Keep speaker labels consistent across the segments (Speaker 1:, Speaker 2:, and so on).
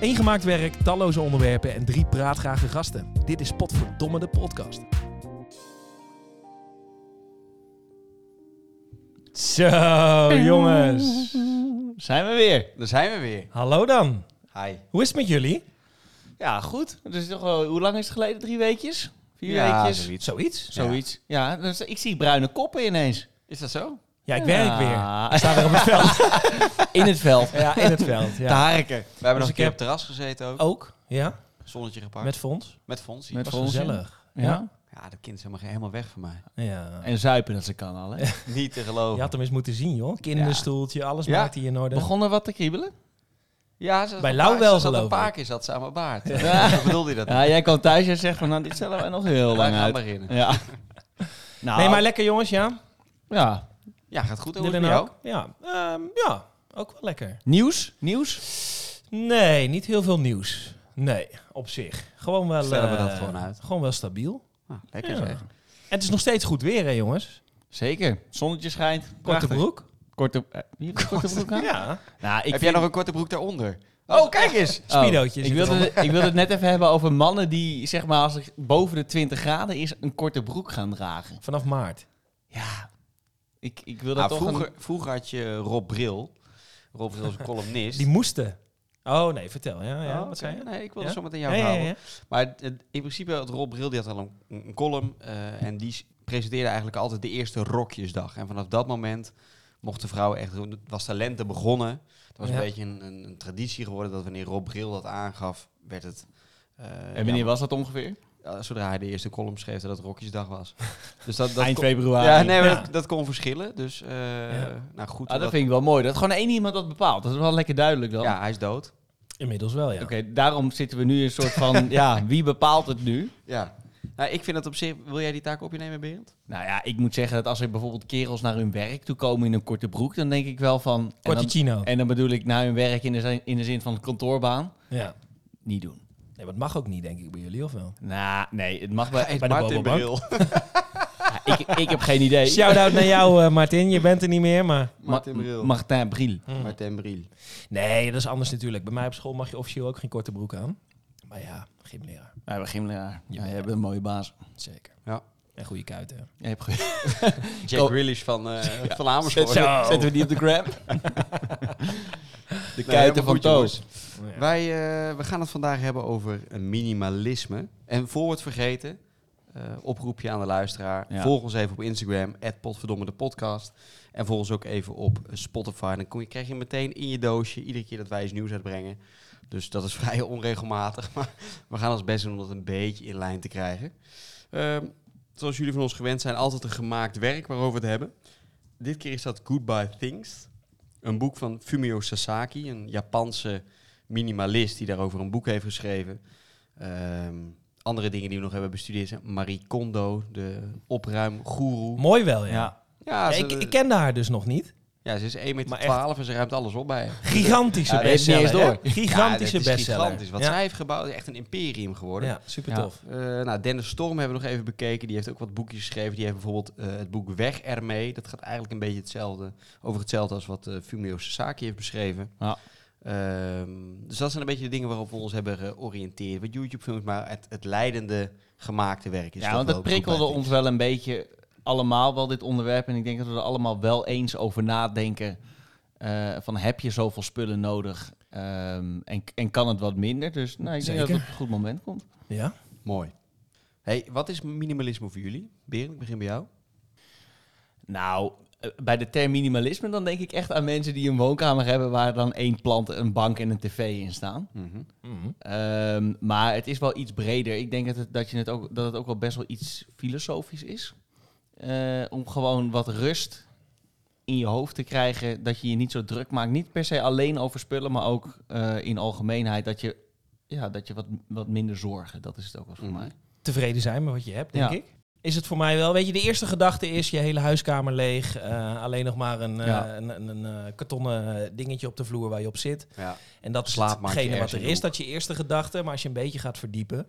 Speaker 1: Eén gemaakt werk, talloze onderwerpen en drie praatgrage gasten. Dit is Potverdomme de podcast.
Speaker 2: Zo, jongens. Zijn we weer.
Speaker 3: Daar zijn we weer.
Speaker 2: Hallo dan.
Speaker 3: Hi.
Speaker 2: Hoe is het met jullie?
Speaker 3: Ja, goed. Het is toch wel, hoe lang is het geleden? Drie weekjes? Vier
Speaker 4: Ja,
Speaker 3: weekjes?
Speaker 4: zoiets.
Speaker 2: Zoiets.
Speaker 3: Zoiets. Ja, dus ik zie bruine koppen ineens.
Speaker 4: Is dat zo?
Speaker 2: Ja, ik werk weer.
Speaker 3: Ah,
Speaker 2: Ik sta weer op het veld.
Speaker 3: In het veld.
Speaker 2: Ja, in het veld.
Speaker 3: Te
Speaker 2: Ja.
Speaker 3: harken.
Speaker 4: We hebben nog
Speaker 2: Dus ik
Speaker 4: een keer
Speaker 2: heb-
Speaker 4: op het terras gezeten ook.
Speaker 2: Ook, ja.
Speaker 4: Zonnetje gepakt. Met,
Speaker 2: Met Fons.
Speaker 4: Fonsie.
Speaker 3: Met-
Speaker 2: Was
Speaker 3: Fons, ja.
Speaker 2: gezellig.
Speaker 3: Ja.
Speaker 4: Ja, dat kind is helemaal, helemaal weg van mij.
Speaker 2: Ja.
Speaker 3: En zuipen dat ze kan al, hè?
Speaker 4: Niet te geloven.
Speaker 2: Je
Speaker 4: Ja,
Speaker 2: had hem eens moeten zien, joh. Kinderstoeltje, alles
Speaker 4: Ja.
Speaker 2: maakte hij in orde.
Speaker 3: Begonnen wat te kriebelen?
Speaker 4: ze zat
Speaker 2: Bij
Speaker 4: een
Speaker 2: Lau
Speaker 4: paar-
Speaker 2: wel,
Speaker 4: ze zat
Speaker 2: geloof
Speaker 4: Een paar
Speaker 2: ik.
Speaker 4: keer zat ze aan mijn baard.
Speaker 3: Ja.
Speaker 4: Hoe bedoelde je dat?
Speaker 3: Ja, jij kwam thuis en zegt van, nou, dit stellen wij nog heel
Speaker 4: Wij
Speaker 3: lang
Speaker 4: gaan
Speaker 3: uit.
Speaker 4: beginnen.
Speaker 3: Ja. Nou,
Speaker 2: Nee, maar lekker jongens, ja.
Speaker 3: ja.
Speaker 4: Ja, gaat goed. Hoe is
Speaker 2: Dit
Speaker 4: het
Speaker 2: en
Speaker 4: met jou?
Speaker 2: ook. Ja. Ehm, ja, ook wel lekker.
Speaker 3: Nieuws? Nieuws?
Speaker 2: Nee, niet heel veel nieuws. Nee, op zich. Gewoon wel...
Speaker 4: Stellen we
Speaker 2: eh,
Speaker 4: dat gewoon uit.
Speaker 2: Gewoon wel stabiel.
Speaker 4: Ah, lekker
Speaker 2: Ja.
Speaker 4: zeg.
Speaker 2: En het is nog steeds goed weer, hè jongens.
Speaker 3: Zeker. Zonnetje schijnt.
Speaker 2: Korte
Speaker 3: Prachtig.
Speaker 2: broek.
Speaker 3: Korte, eh, wie heeft een korte broek aan?
Speaker 2: Ja.
Speaker 3: Nou, ik
Speaker 4: Heb jij
Speaker 3: vind-
Speaker 4: nog een korte broek daaronder? Oh, kijk eens!
Speaker 3: Oh,
Speaker 2: Speedootjes.
Speaker 3: ik, wilde, het- ik wilde het net even hebben over mannen die, zeg maar, als het boven de 20 graden is, een korte broek gaan dragen.
Speaker 2: Vanaf maart.
Speaker 3: Ja. Ik, ik wil dat
Speaker 4: Ah,
Speaker 3: toch
Speaker 4: vroeger,
Speaker 3: een...
Speaker 4: vroeger had je Rob Bril. Rob Bril is een columnist.
Speaker 2: Die moesten. Oh nee, vertel. Ja, ja.
Speaker 4: Oh,
Speaker 2: wat
Speaker 4: oké.
Speaker 2: zei je?
Speaker 4: Nee, ik wilde
Speaker 2: Ja?
Speaker 4: zo meteen
Speaker 2: Ja,
Speaker 4: jouw
Speaker 2: ja,
Speaker 4: verhaal.
Speaker 2: ja, ja.
Speaker 4: Maar het- het- in principe, had Rob Bril die had al een, een column. eh, en die s- presenteerde eigenlijk altijd de eerste rokjesdag. En vanaf dat moment mochten vrouwen echt... doen- was de lente begonnen. Het was
Speaker 2: Ja.
Speaker 4: een beetje een, een, een traditie geworden dat wanneer Rob Bril dat aangaf, werd het... eh,
Speaker 3: En wanneer was dat ongeveer?
Speaker 4: ja, maar, eh, zodra hij de eerste column schreef dat het rokjesdag was. dus dat, dat
Speaker 3: Eind
Speaker 4: kon,
Speaker 3: februari.
Speaker 4: ja, nee, maar
Speaker 2: Ja.
Speaker 4: Dat, dat kon verschillen. Dus eh, nou goed.
Speaker 3: Ah, dat
Speaker 4: omdat-
Speaker 3: vind ik wel mooi. Dat gewoon één iemand dat bepaalt. Dat is wel lekker duidelijk dan.
Speaker 4: ja, hij is dood.
Speaker 2: Inmiddels wel, ja.
Speaker 3: Oké, daarom zitten we nu in een soort van, ja, wie bepaalt het nu?
Speaker 4: Ja. Nou, ik vind dat op zich... Wil jij die taak op je nemen, Berend?
Speaker 3: Nou ja, ik moet zeggen dat als er bijvoorbeeld kerels naar hun werk toe komen in een korte broek, dan denk ik wel van... en,
Speaker 2: Korte
Speaker 3: dan,
Speaker 2: chino.
Speaker 3: en dan bedoel ik naar hun werk in de, zin- in de zin van kantoorbaan.
Speaker 2: Ja.
Speaker 3: Niet doen.
Speaker 2: Nee, maar het mag ook niet, denk ik, bij jullie, of wel?
Speaker 3: Nou, nee, het mag wel.
Speaker 2: Bij de
Speaker 4: Martin
Speaker 2: Bobobank.
Speaker 4: Bril.
Speaker 3: ik, ik heb geen idee.
Speaker 2: Shout-out naar jou, eh, Martin. Je bent er niet meer, maar...
Speaker 4: Martin Bril.
Speaker 3: Martin Bril.
Speaker 4: Martin Bril.
Speaker 2: Nee, dat is anders natuurlijk. Bij mij op school mag je officieel ook geen korte broek aan. Maar ja, gymleraar.
Speaker 3: Ja, we gymleraar. Ja, je hebt een mooie baas.
Speaker 2: Zeker.
Speaker 4: Ja.
Speaker 2: En goede kuiten.
Speaker 3: Je hebt ge-
Speaker 4: Jack
Speaker 3: Oh.
Speaker 4: Grealish van, eh van Amersfoort.
Speaker 2: Zo.
Speaker 3: Zetten we die op de grab? de
Speaker 4: helemaal
Speaker 3: kuiten van
Speaker 4: goed,
Speaker 3: Toos.
Speaker 2: Ja.
Speaker 4: Wij eh, we gaan het vandaag hebben over een minimalisme. En voor we het vergeten, eh, oproepje aan de luisteraar.
Speaker 3: Ja.
Speaker 4: Volg ons even op Instagram, potverdomme de podcast. En volg ons ook even op Spotify. Dan kom je, krijg je meteen in je doosje iedere keer dat wij iets nieuws uitbrengen. Dus dat is vrij onregelmatig. Maar we gaan ons best doen om dat een beetje in lijn te krijgen. Ehm, zoals jullie van ons gewend zijn, altijd een gemaakt werk waarover we het hebben. Dit keer is dat Goodbye Things. Een boek van Fumio Sasaki, een Japanse minimalist die daarover een boek heeft geschreven. Ehm, andere dingen die we nog hebben bestudeerd zijn Marie Kondo, de opruimgoeroe.
Speaker 2: Mooi wel, ja.
Speaker 3: Ja.
Speaker 4: Ja,
Speaker 2: Ja,
Speaker 4: ze,
Speaker 2: ik, ik kende haar dus nog niet.
Speaker 4: ja, ze is 1 meter
Speaker 2: Maar
Speaker 4: 12 en ze ruimt alles op bij.
Speaker 2: Gigantische
Speaker 3: Ja, dat is niet
Speaker 2: bestseller.
Speaker 3: eens
Speaker 2: hè?
Speaker 3: door.
Speaker 2: Gigantische
Speaker 4: ja, dit is
Speaker 2: bestseller.
Speaker 4: Gigantisch. Wat
Speaker 2: ja.
Speaker 4: zij heeft gebouwd is echt een imperium geworden.
Speaker 2: Ja, super
Speaker 3: Ja.
Speaker 2: tof.
Speaker 4: Eh, nou, Dennis Storm hebben we nog even bekeken. Die heeft ook wat boekjes geschreven. Die heeft bijvoorbeeld eh, het boek Weg ermee. Dat gaat eigenlijk een beetje hetzelfde, over hetzelfde als wat eh, Fumio Sasaki heeft beschreven.
Speaker 3: Ja.
Speaker 4: Ehm, dus dat zijn een beetje de dingen waarop we ons hebben georiënteerd. Wat YouTube-films, maar het, het leidende gemaakte werk is.
Speaker 3: Ja,
Speaker 4: toch
Speaker 3: want dat
Speaker 4: wel Good Bad
Speaker 3: prikkelde
Speaker 4: Things.
Speaker 3: ons wel een beetje allemaal wel dit onderwerp. En ik denk dat we er allemaal wel eens over nadenken. eh, van heb je zoveel spullen nodig? Ehm, en, en kan het wat minder? Dus nou, ik denk dat
Speaker 2: Zeker.
Speaker 3: het op een goed moment komt.
Speaker 2: Ja.
Speaker 4: Mooi. Hey, wat is minimalisme voor jullie? Berend, ik begin bij jou.
Speaker 3: Nou, eh, bij de term minimalisme dan denk ik echt aan mensen die een woonkamer hebben waar dan één plant, een bank en een tv in staan. Ehm, maar het is wel iets breder. Ik denk dat het, dat je het, ook, dat het ook wel best wel iets filosofisch is. Eh, om gewoon wat rust in je hoofd te krijgen. Dat je je niet zo druk maakt. Niet per se alleen over spullen, maar ook eh, in algemeenheid. Dat je, ja, dat je wat, wat minder zorgen. Dat is het ook wel
Speaker 2: Mm.
Speaker 3: voor
Speaker 4: Mhm.
Speaker 3: mij.
Speaker 2: tevreden zijn met wat je hebt, denk
Speaker 3: Ja.
Speaker 2: ik. Is het voor mij wel, weet je, de eerste gedachte is je hele huiskamer leeg. eh, alleen nog maar een, eh,
Speaker 3: Ja.
Speaker 2: een, een, een, eh, kartonnen dingetje op de vloer waar je op zit.
Speaker 4: Ja.
Speaker 2: En dat is
Speaker 4: Slaapmaatje
Speaker 2: hetgene wat
Speaker 4: ergens in
Speaker 2: er
Speaker 4: de
Speaker 2: is,
Speaker 4: hoek.
Speaker 2: dat je eerste gedachte. Maar als je een beetje gaat verdiepen.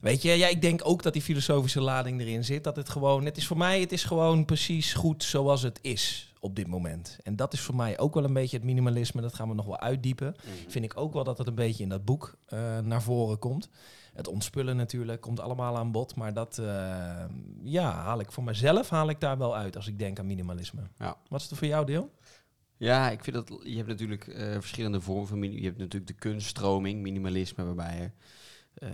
Speaker 2: Weet je, ja, ik denk ook dat die filosofische lading erin zit. Dat het gewoon, het is voor mij, het is gewoon precies goed zoals het is op dit moment. En dat is voor mij ook wel een beetje het minimalisme. Dat gaan we nog wel uitdiepen. Vind ik ook wel dat het een beetje in dat boek eh, naar voren komt. Het ontspullen natuurlijk komt allemaal aan bod. Maar dat, eh, ja, haal ik voor mezelf haal ik daar wel uit als ik denk aan minimalisme.
Speaker 4: Ja.
Speaker 2: Wat is er voor jou deel?
Speaker 4: Ja, ik vind dat je hebt natuurlijk eh, verschillende vormen van mini- Je hebt natuurlijk de kunststroming, minimalisme, waarbij je, eh,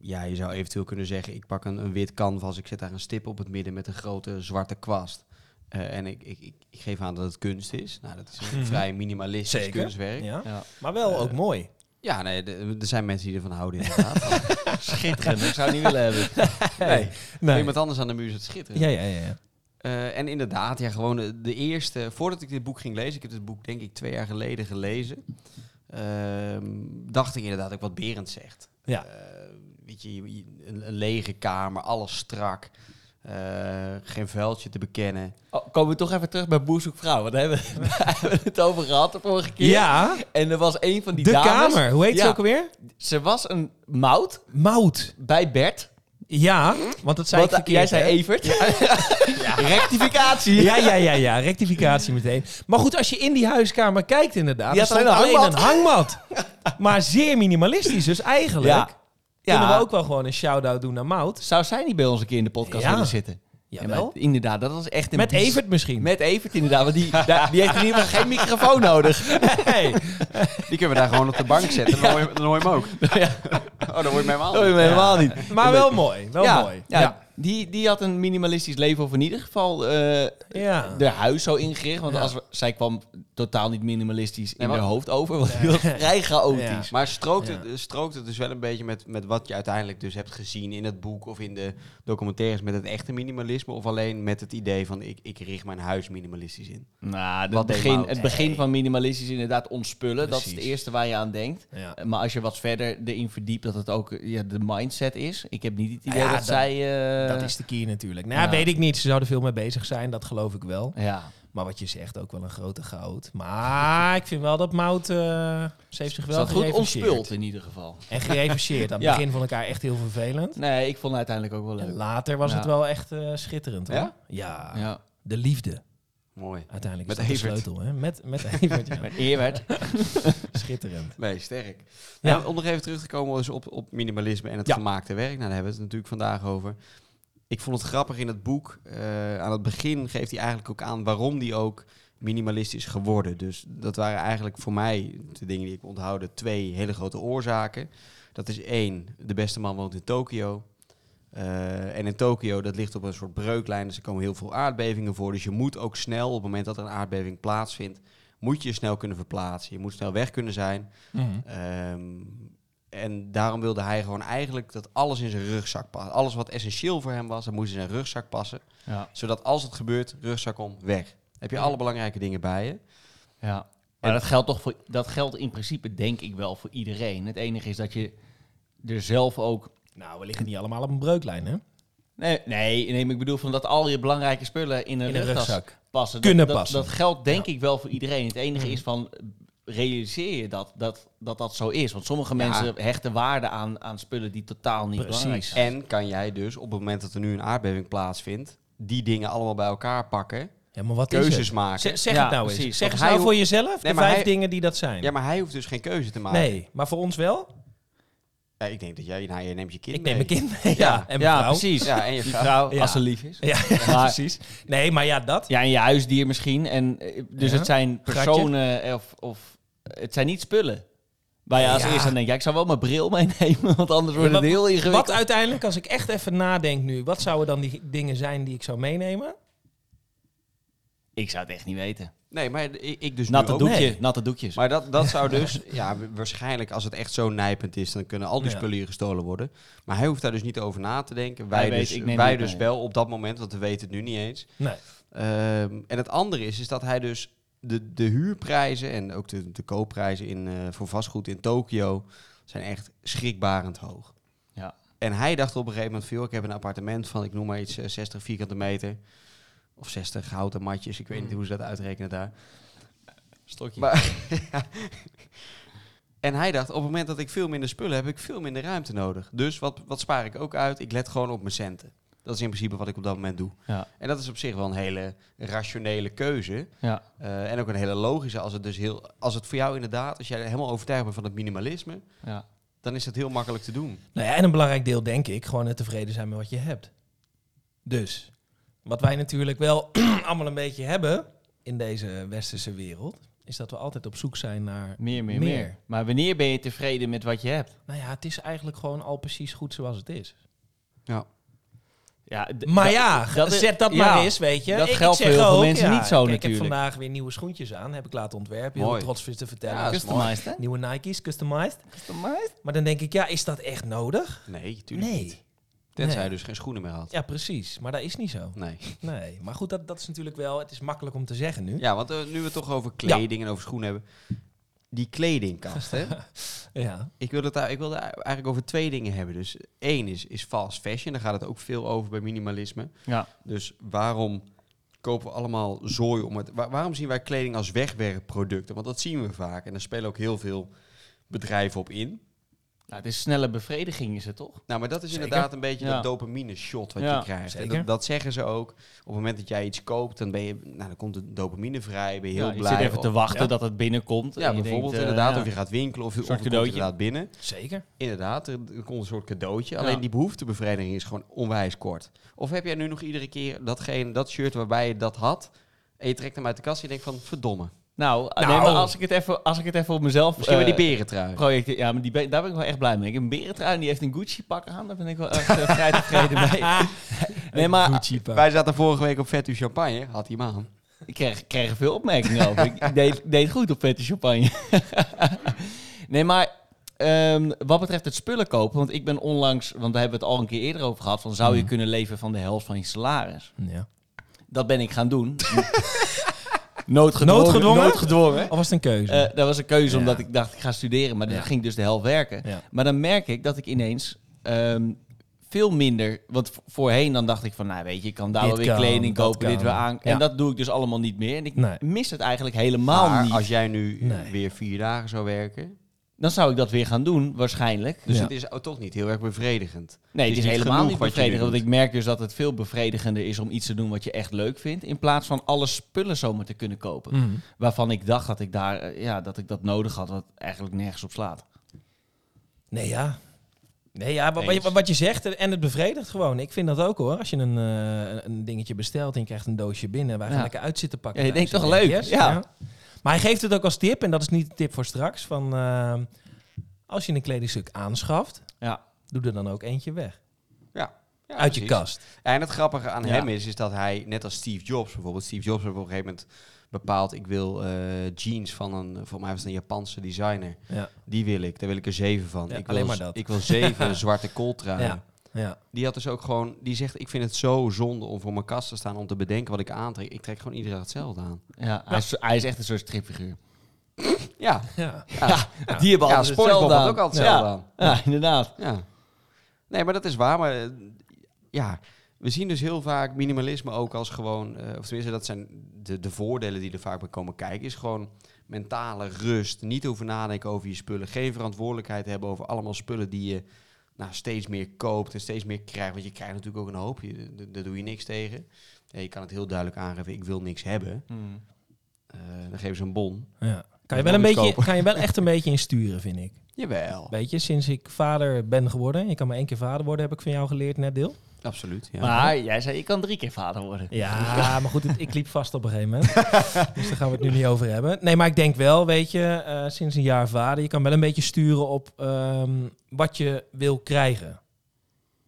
Speaker 4: ja, je zou eventueel kunnen zeggen: ik pak een, een wit canvas, ik zet daar een stip op het midden met een grote zwarte kwast. Eh, en ik, ik, ik, ik geef aan dat het kunst is. Nou, dat is een
Speaker 2: Mhm.
Speaker 4: vrij minimalistisch
Speaker 2: Zeker.
Speaker 4: kunstwerk. Ja,
Speaker 2: Ja.
Speaker 3: Ja.
Speaker 2: Maar wel
Speaker 4: Eh,
Speaker 2: ook mooi.
Speaker 4: nee, de- er zijn mensen die ervan houden, inderdaad.
Speaker 3: Schitterend, ik zou het niet willen hebben.
Speaker 4: nee.
Speaker 2: Nee.
Speaker 4: Iemand anders aan de muur zit schitterend.
Speaker 2: Ja, ja, ja. ja.
Speaker 4: Eh, en inderdaad, ja, gewoon eh, de, de eerste. Voordat ik dit boek ging lezen, ik heb dit boek denk ik twee jaar geleden gelezen. ehm, dacht ik inderdaad ook wat Berend zegt.
Speaker 2: Ja.
Speaker 4: Eh, weet je, je- je- een, een lege kamer, alles strak. eh, geen vuiltje te bekennen.
Speaker 3: Oh, komen we toch even terug bij Boer zoekt vrouw. Want daar hebben we, daar hebben we het over gehad de vorige keer.
Speaker 2: Ja,
Speaker 3: En er was een van die
Speaker 2: de
Speaker 3: dames.
Speaker 2: kamer. Hoe heet
Speaker 3: Ja.
Speaker 2: ze ook alweer?
Speaker 3: Ze was een mout
Speaker 2: Mout.
Speaker 3: bij Bert.
Speaker 2: Ja, want dat eh, zei ik
Speaker 3: Want,
Speaker 2: verkeerd.
Speaker 3: jij zei
Speaker 2: hè?
Speaker 3: Evert. Rectificatie.
Speaker 2: Ja, ja, ja, ja. Rectificatie meteen. Maar goed, als je in die huiskamer kijkt inderdaad...
Speaker 3: Je
Speaker 2: er
Speaker 3: had alleen
Speaker 2: stond
Speaker 3: een
Speaker 2: alleen een hangmat. Maar zeer minimalistisch. Dus eigenlijk
Speaker 3: Ja.
Speaker 2: kunnen
Speaker 3: Ja.
Speaker 2: we ook wel gewoon een shout-out doen naar Mout.
Speaker 3: Zou zij niet bij ons een keer in de podcast
Speaker 2: Ja.
Speaker 3: willen zitten? Ja, maar inderdaad, dat was echt een
Speaker 2: Met
Speaker 3: bizar-
Speaker 2: Evert misschien.
Speaker 3: Met Evert inderdaad, want die, daar- die heeft in ieder geval geen microfoon nodig.
Speaker 2: Hey.
Speaker 4: Die kunnen we daar gewoon op de bank zetten. Dan hoor je, dan hoor je hem ook. Oh, dan hoor je mij
Speaker 3: Dat hoor je
Speaker 4: helemaal.
Speaker 3: me helemaal niet.
Speaker 2: Maar wel mooi. Wel
Speaker 3: ja,
Speaker 2: mooi.
Speaker 3: Ja, Die, die had een minimalistisch leven, of in ieder geval eh
Speaker 2: Ja.
Speaker 3: de huis zo ingericht. Want
Speaker 2: Ja.
Speaker 3: als we, zij kwam totaal niet minimalistisch in
Speaker 4: Nee, maar-
Speaker 3: haar hoofd over, want die was vrij chaotisch.
Speaker 4: Maar strookt het,
Speaker 2: Ja.
Speaker 4: strookt het dus wel een beetje met, met wat je uiteindelijk dus hebt gezien in het boek of in de documentaires met het echte minimalisme? Of alleen met het idee van ik, ik richt mijn huis minimalistisch in?
Speaker 3: Nou, het
Speaker 4: Wat deed
Speaker 3: begin,
Speaker 4: Maud?
Speaker 3: het begin van minimalistisch is inderdaad ontspullen. Dat is het
Speaker 2: Precies.
Speaker 3: eerste waar je aan denkt.
Speaker 2: Ja.
Speaker 3: Eh, Maar als je wat verder erin verdiept, dat het ook eh, ja, de mindset is. Ik heb niet het
Speaker 2: Nou
Speaker 3: idee
Speaker 2: ja,
Speaker 3: dat,
Speaker 2: dat-
Speaker 3: zij... eh,
Speaker 2: Dat is de key natuurlijk. Nou,
Speaker 3: Ja.
Speaker 2: weet ik niet. Ze zouden veel mee bezig zijn. Dat geloof ik wel.
Speaker 3: Ja.
Speaker 2: Maar wat je zegt, ook wel een grote goud. Maar ik vind wel dat Mout... eh, ze heeft zich
Speaker 3: Ze
Speaker 2: wel
Speaker 3: had goed
Speaker 2: gerevancheerd.
Speaker 3: ontspult in ieder geval.
Speaker 2: En gerevancheerd. Aan het
Speaker 3: Ja.
Speaker 2: begin vond ik haar echt heel vervelend.
Speaker 3: Nee, ik vond het uiteindelijk ook wel
Speaker 2: En
Speaker 3: leuk.
Speaker 2: later was
Speaker 3: Ja.
Speaker 2: het wel echt eh, schitterend. Hoor.
Speaker 4: Ja?
Speaker 2: Ja,
Speaker 3: Ja.
Speaker 2: de liefde.
Speaker 4: Mooi.
Speaker 2: Uiteindelijk
Speaker 4: Met
Speaker 2: is dat
Speaker 4: Evert.
Speaker 2: de sleutel. Hè? Met, met Evert, ja.
Speaker 3: Met Evert.
Speaker 2: Schitterend.
Speaker 4: Nee, sterk.
Speaker 2: Ja.
Speaker 4: En om nog even terug te komen dus op, op minimalisme en het
Speaker 2: Ja.
Speaker 4: gemaakte werk. Nou, daar hebben we het natuurlijk vandaag over. Ik vond het grappig in het boek. eh, aan het begin geeft hij eigenlijk ook aan waarom die ook minimalist is geworden. Dus dat waren eigenlijk voor mij, de dingen die ik onthouden, twee hele grote oorzaken. Dat is één, de beste man woont in Tokio. Eh, en in Tokio, dat ligt op een soort breuklijn, dus er komen heel veel aardbevingen voor. Dus je moet ook snel, op het moment dat er een aardbeving plaatsvindt, moet je je snel kunnen verplaatsen. Je moet snel weg kunnen zijn.
Speaker 2: Mhm.
Speaker 4: Ehm, en daarom wilde hij gewoon eigenlijk dat alles in zijn rugzak past. Alles wat essentieel voor hem was, dat moest in zijn rugzak passen.
Speaker 3: Ja.
Speaker 4: Zodat als het gebeurt, rugzak om, weg. Heb je alle belangrijke dingen bij je.
Speaker 3: ja. Maar dat geldt toch voor, dat geldt in principe denk ik wel voor iedereen. Het enige is dat je er zelf ook.
Speaker 2: Nou, we liggen niet allemaal op een breuklijn, hè?
Speaker 3: Nee, nee, nee maar ik bedoel van dat al je belangrijke spullen in een,
Speaker 2: In een
Speaker 3: rugtas
Speaker 2: rugzak.
Speaker 3: passen.
Speaker 2: Kunnen
Speaker 3: dat, dat-
Speaker 2: passen. Mhm.
Speaker 3: Dat, geldt denk ik wel voor iedereen. Het enige is van realiseer je dat dat, dat dat zo is. Want sommige
Speaker 4: Ja.
Speaker 3: mensen hechten waarde aan, aan spullen die totaal niet
Speaker 2: Precies.
Speaker 3: belangrijk zijn.
Speaker 4: En kan jij dus op het moment dat er nu een aardbeving plaatsvindt, die dingen allemaal bij elkaar pakken,
Speaker 2: Ja, maar wat is
Speaker 4: keuzes
Speaker 2: het?
Speaker 4: maken.
Speaker 2: Z- zeg
Speaker 3: Ja,
Speaker 2: het nou
Speaker 3: precies.
Speaker 2: eens. Zeg
Speaker 4: Want
Speaker 2: het
Speaker 4: hij
Speaker 2: nou
Speaker 4: hoeft-
Speaker 2: voor jezelf
Speaker 4: Nee,
Speaker 2: de
Speaker 4: maar
Speaker 2: vijf
Speaker 4: hij-
Speaker 2: dingen die dat zijn.
Speaker 4: Ja, maar hij hoeft dus geen keuze te maken.
Speaker 2: nee, maar voor ons wel.
Speaker 4: Ja, ik denk dat jij, nou, jij neemt je kind
Speaker 2: ik
Speaker 4: mee.
Speaker 2: neem mijn kind mee. Ja,
Speaker 4: Ja,
Speaker 2: en mijn
Speaker 3: ja,
Speaker 2: vrouw.
Speaker 3: precies.
Speaker 4: Ja, en je
Speaker 3: Die
Speaker 4: vrouw.
Speaker 3: vrouw,
Speaker 2: Ja.
Speaker 3: als ze lief is.
Speaker 2: Ja, ja,
Speaker 3: Maar-
Speaker 2: precies. Nee, maar ja, dat.
Speaker 3: Ja, en je huisdier misschien. En, eh, dus
Speaker 2: Ja.
Speaker 3: het zijn
Speaker 2: Gatje.
Speaker 3: personen eh, of, of... Het zijn niet spullen. Waar je als
Speaker 2: Ja.
Speaker 3: eerste aan denkt, ja, ik zou wel mijn bril meenemen, want anders wordt
Speaker 2: Ja,
Speaker 3: het heel
Speaker 2: Wat
Speaker 3: ingewikkeld.
Speaker 2: uiteindelijk, als ik echt even nadenk nu, wat zouden dan die dingen zijn die ik zou meenemen?
Speaker 3: Ik zou het echt niet weten.
Speaker 4: Nee, maar ik, ik dus nu
Speaker 3: Natte
Speaker 4: ook
Speaker 3: doekje,
Speaker 2: Nee.
Speaker 3: natte doekjes.
Speaker 4: Maar dat, dat zou dus, ja, wa- waarschijnlijk als het echt zo nijpend is, dan kunnen al die
Speaker 2: Ja.
Speaker 4: spullen hier gestolen worden. Maar hij hoeft daar dus niet over na te denken. Wij,
Speaker 3: Hij weet,
Speaker 4: dus,
Speaker 3: ik neem
Speaker 4: wij
Speaker 3: dit
Speaker 4: dus
Speaker 3: mee.
Speaker 4: wel op dat moment, want we weten het nu niet eens.
Speaker 2: Nee.
Speaker 4: Ehm, en het andere is, is dat hij dus de, de huurprijzen en ook de, de koopprijzen in, eh, voor vastgoed in Tokio zijn echt schrikbarend hoog.
Speaker 3: Ja.
Speaker 4: En hij dacht op een gegeven moment, van, joh, ik heb een appartement van, ik noem maar iets, eh, 60 vierkante meter. Of 60 houten matjes, ik
Speaker 3: Mm.
Speaker 4: weet niet hoe ze dat uitrekenen daar.
Speaker 3: Stokje.
Speaker 4: Maar, En hij dacht, op het moment dat ik veel minder spullen heb, heb ik veel minder ruimte nodig. Dus wat, wat spaar ik ook uit? Ik let gewoon op mijn centen. Dat is in principe wat ik op dat moment doe.
Speaker 3: Ja.
Speaker 4: En dat is op zich wel een hele rationele keuze.
Speaker 3: Ja.
Speaker 4: Eh, en ook een hele logische. Als het, dus heel, als het voor jou inderdaad, als jij helemaal overtuigd bent van het minimalisme,
Speaker 3: Ja.
Speaker 4: dan is dat heel makkelijk te doen.
Speaker 2: Nou ja, en een belangrijk deel denk ik, gewoon het tevreden zijn met wat je hebt. Dus, wat wij natuurlijk wel allemaal een beetje hebben in deze westerse wereld, is dat we altijd op zoek zijn naar...
Speaker 3: Meer, meer,
Speaker 2: Meer.
Speaker 3: meer, Maar wanneer ben je tevreden met wat je hebt?
Speaker 2: Nou ja, het is eigenlijk gewoon al precies goed zoals het is.
Speaker 3: Ja, d-
Speaker 2: Maar
Speaker 3: dat-
Speaker 2: ja,
Speaker 3: dat is-
Speaker 2: zet dat
Speaker 3: ja,
Speaker 2: maar eens, weet je.
Speaker 3: dat
Speaker 2: Ik- ik
Speaker 3: geldt voor
Speaker 2: zeg
Speaker 3: heel veel
Speaker 2: ook,
Speaker 3: mensen niet zo
Speaker 2: kijk, Ik heb
Speaker 3: natuurlijk.
Speaker 2: vandaag weer nieuwe schoentjes aan, heb ik laten ontwerpen. Heel
Speaker 4: Mooi.
Speaker 2: trots voor te vertellen.
Speaker 4: Ja, dat is mooi.
Speaker 3: Customized, hè?
Speaker 2: Nieuwe Nike's, customized.
Speaker 3: Customized?
Speaker 2: Maar dan denk ik, ja, is dat echt nodig?
Speaker 4: Nee, tuurlijk niet. Tenzij hij dus geen schoenen meer had.
Speaker 2: Ja, precies. Maar dat is niet zo.
Speaker 4: Nee.
Speaker 2: Nee. Maar goed, dat, dat is natuurlijk wel... Het is makkelijk om te zeggen nu.
Speaker 4: Ja, want eh, nu we het toch over kleding en over schoenen hebben. Die kledingkast, hè?
Speaker 2: Ja.
Speaker 4: Ik wil het daar- ik wil daar eigenlijk over twee dingen hebben. Dus één is, is fast fashion. Daar gaat het ook veel over bij minimalisme.
Speaker 3: Ja.
Speaker 4: Dus waarom kopen we allemaal zooi om het... wa- waarom zien wij kleding als wegwerpproducten? Want dat zien we vaak. En daar spelen ook heel veel bedrijven op in.
Speaker 3: Nou, het is snelle bevrediging, is het toch?
Speaker 4: Nou, maar dat is
Speaker 2: Zeker.
Speaker 4: inderdaad een beetje
Speaker 3: Ja.
Speaker 4: dat dopamine-shot wat
Speaker 3: Ja,
Speaker 4: je krijgt. En
Speaker 2: zeker.
Speaker 4: dat, dat zeggen ze ook. Op het moment dat jij iets koopt, dan, ben je, nou, dan komt de dopamine vrij. Ben je heel
Speaker 3: ja, je
Speaker 4: blij.
Speaker 3: zit even te
Speaker 4: Of-
Speaker 3: wachten
Speaker 2: Ja.
Speaker 3: dat het binnenkomt. en
Speaker 4: ja,
Speaker 3: je
Speaker 4: bijvoorbeeld
Speaker 3: denkt, eh,
Speaker 4: inderdaad.
Speaker 3: ja.
Speaker 4: Of je gaat winkelen of, of
Speaker 3: Soort
Speaker 4: er komt
Speaker 3: cadeautje.
Speaker 4: inderdaad binnen.
Speaker 2: Zeker.
Speaker 4: Inderdaad, er, er komt een soort cadeautje.
Speaker 3: Ja.
Speaker 4: Alleen die behoeftebevrediging is gewoon onwijs kort. Of heb jij nu nog iedere keer datgene, dat shirt waarbij je dat had... en je trekt hem uit de kast en je denkt van, verdomme.
Speaker 3: Nou,
Speaker 2: Nou.
Speaker 3: nee, maar als ik het even, als ik het even op mezelf...
Speaker 4: Misschien wel
Speaker 3: eh,
Speaker 4: die berentrui.
Speaker 3: projecten- ja, maar die, be- daar ben ik wel echt blij mee. Ik heb een berentrui en die heeft een Gucci-pak aan. Daar ben ik wel echt eh, vrij tevreden mee. Nee, maar
Speaker 4: Wij zaten vorige week op Vet U Champagne, had hij hem aan.
Speaker 3: Ik kreeg, kreeg er veel opmerkingen over. Ik deed, deed goed op vette champagne. nee, maar ehm, wat betreft het spullen kopen... want ik ben onlangs, want daar hebben we het al een keer eerder over gehad... van zou
Speaker 2: Mm.
Speaker 3: je kunnen leven van de helft van je salaris?
Speaker 2: Ja.
Speaker 3: Dat ben ik gaan doen. noodgedwongen.
Speaker 2: Noodgedwongen?
Speaker 3: noodgedwongen.
Speaker 2: Of was het een keuze?
Speaker 3: Eh, dat was een keuze
Speaker 2: Ja.
Speaker 3: omdat ik dacht, ik ga studeren. Maar
Speaker 2: Ja.
Speaker 3: dan ging ik dus de helft werken.
Speaker 2: Ja.
Speaker 3: Maar dan merk ik dat ik ineens ehm, veel minder... Want v- voorheen dan dacht ik van, nou weet je, ik kan daar
Speaker 2: Dit
Speaker 3: wel weer
Speaker 2: kan,
Speaker 3: kleding
Speaker 2: dat
Speaker 3: kopen, dit
Speaker 2: kan.
Speaker 3: weer aan.
Speaker 2: Ja.
Speaker 3: En dat doe ik dus allemaal niet meer. En ik
Speaker 2: Nee.
Speaker 3: mis het eigenlijk helemaal
Speaker 4: maar
Speaker 3: niet.
Speaker 4: als jij nu
Speaker 2: Nee.
Speaker 4: weer vier dagen zou werken...
Speaker 3: Dan zou ik dat weer gaan doen, waarschijnlijk.
Speaker 4: Dus
Speaker 2: Ja.
Speaker 4: het is ook toch niet heel erg bevredigend.
Speaker 3: Nee, het
Speaker 4: is
Speaker 3: is,
Speaker 4: niet
Speaker 3: helemaal
Speaker 4: genoeg
Speaker 3: niet
Speaker 4: wat je
Speaker 3: bevredigend.
Speaker 4: nu
Speaker 3: Want
Speaker 4: doet.
Speaker 3: ik merk dus dat het veel bevredigender is om iets te doen wat je echt leuk vindt. In plaats van alle spullen zomaar te kunnen kopen.
Speaker 2: Mm.
Speaker 3: Waarvan ik dacht dat ik, daar, eh, ja, dat ik dat nodig had, wat eigenlijk nergens op slaat.
Speaker 2: Nee, ja. Nee, ja, wat, wat,
Speaker 4: Eens.
Speaker 2: je- wat je zegt eh, en het bevredigt gewoon. Ik vind dat ook hoor. Als je een, eh, een- een dingetje bestelt en je krijgt een doosje binnen, wij gaan
Speaker 3: Ja.
Speaker 2: lekker uit zitten pakken. Nou,
Speaker 3: Ja, je
Speaker 2: thuis.
Speaker 3: denkt
Speaker 2: Dan
Speaker 3: toch
Speaker 2: denk
Speaker 3: leuk,
Speaker 2: ik,
Speaker 3: ja.
Speaker 2: Maar hij geeft het ook als tip, en dat is niet de tip voor straks, van eh, als je een kledingstuk aanschaft,
Speaker 3: Ja.
Speaker 2: doe er dan ook eentje weg.
Speaker 4: Ja,
Speaker 2: uit je
Speaker 4: precies.
Speaker 2: kast.
Speaker 4: En het grappige aan
Speaker 3: Ja.
Speaker 4: hem is, is dat hij, net als Steve Jobs bijvoorbeeld, Steve Jobs heeft op een gegeven moment bepaald, ik wil eh, jeans van een, voor mij was het een Japanse designer,
Speaker 2: Ja.
Speaker 4: die wil ik, daar wil ik er zeven van.
Speaker 2: Ja,
Speaker 4: ik
Speaker 2: alleen
Speaker 4: wil,
Speaker 2: maar
Speaker 4: z-
Speaker 2: dat.
Speaker 4: Ik wil zeven zwarte kooltruien.
Speaker 2: Ja. Ja.
Speaker 4: Die had dus ook gewoon, die zegt, ik vind het zo zonde om voor mijn kast te staan, om te bedenken wat ik aantrek. Ik trek gewoon iedere dag hetzelfde aan.
Speaker 3: Ja, Hij, is, hij is echt een soort stripfiguur.
Speaker 4: Ja,
Speaker 2: Ja.
Speaker 3: Die hebben
Speaker 4: ja
Speaker 3: altijd
Speaker 4: SpongeBob
Speaker 3: hetzelfde
Speaker 4: had
Speaker 3: aan.
Speaker 4: ook altijd hetzelfde
Speaker 3: ja.
Speaker 4: aan.
Speaker 3: Ja, inderdaad.
Speaker 4: Ja. Nee, maar dat is waar. Maar eh, ja, we zien dus heel vaak minimalisme ook als gewoon... eh, of tenminste, dat zijn de, de voordelen die er vaak bij komen kijken. Is gewoon mentale rust. Niet hoeven nadenken over je spullen. Geen verantwoordelijkheid hebben over allemaal spullen die je... Nou, steeds meer koopt en steeds meer krijgt. Want je krijgt natuurlijk ook een hoop. Je, d- daar doe je niks tegen. Ja, je kan het heel duidelijk aangeven, ik wil niks hebben.
Speaker 2: Hm.
Speaker 4: Eh, dan geven ze een bon.
Speaker 2: Ja. Kan, je
Speaker 4: Nog
Speaker 2: wel een
Speaker 4: iets
Speaker 2: beetje,
Speaker 4: kopen.
Speaker 2: kan je wel echt een beetje insturen, vind ik.
Speaker 4: Jawel.
Speaker 2: Weet je, sinds ik vader ben geworden, je kan maar één keer vader worden, heb ik van jou geleerd, net deel.
Speaker 4: Absoluut, ja.
Speaker 3: Maar jij zei, ik kan drie keer vader worden.
Speaker 2: Ja, maar goed, het- ik liep vast op een gegeven moment. dus daar gaan we het nu niet over hebben. Nee, maar ik denk wel, weet je, eh, sinds een jaar vader, je kan wel een beetje sturen op ehm, wat je wil krijgen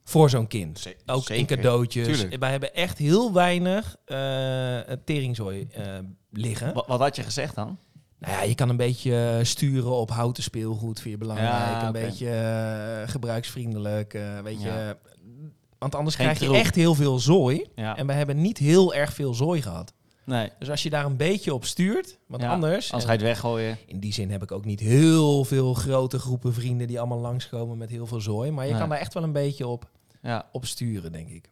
Speaker 2: voor zo'n kind.
Speaker 4: Ze-
Speaker 2: Ook in
Speaker 4: zeker.
Speaker 2: cadeautjes.
Speaker 4: Tuurlijk.
Speaker 2: Wij hebben echt heel weinig eh teringzooi eh, liggen.
Speaker 3: Wat, wat had je gezegd dan?
Speaker 2: Nou ja, je kan een beetje eh, sturen op houten speelgoed, vind je belangrijk.
Speaker 3: Ja,
Speaker 2: een
Speaker 3: oké.
Speaker 2: beetje eh, gebruiksvriendelijk, eh, weet je.
Speaker 3: Ja.
Speaker 2: Want anders
Speaker 3: Geen
Speaker 2: krijg je
Speaker 3: troep.
Speaker 2: echt heel veel zooi.
Speaker 3: Ja.
Speaker 2: En we hebben niet heel erg veel zooi gehad.
Speaker 3: Nee.
Speaker 2: Dus als je daar een beetje op stuurt, want
Speaker 3: Ja,
Speaker 2: anders...
Speaker 3: Anders ga je het weggooien.
Speaker 2: In die zin heb ik ook niet heel veel grote groepen vrienden die allemaal langskomen met heel veel zooi. Maar je
Speaker 3: Nee.
Speaker 2: kan daar echt wel een beetje op,
Speaker 3: Ja.
Speaker 2: op sturen, denk ik.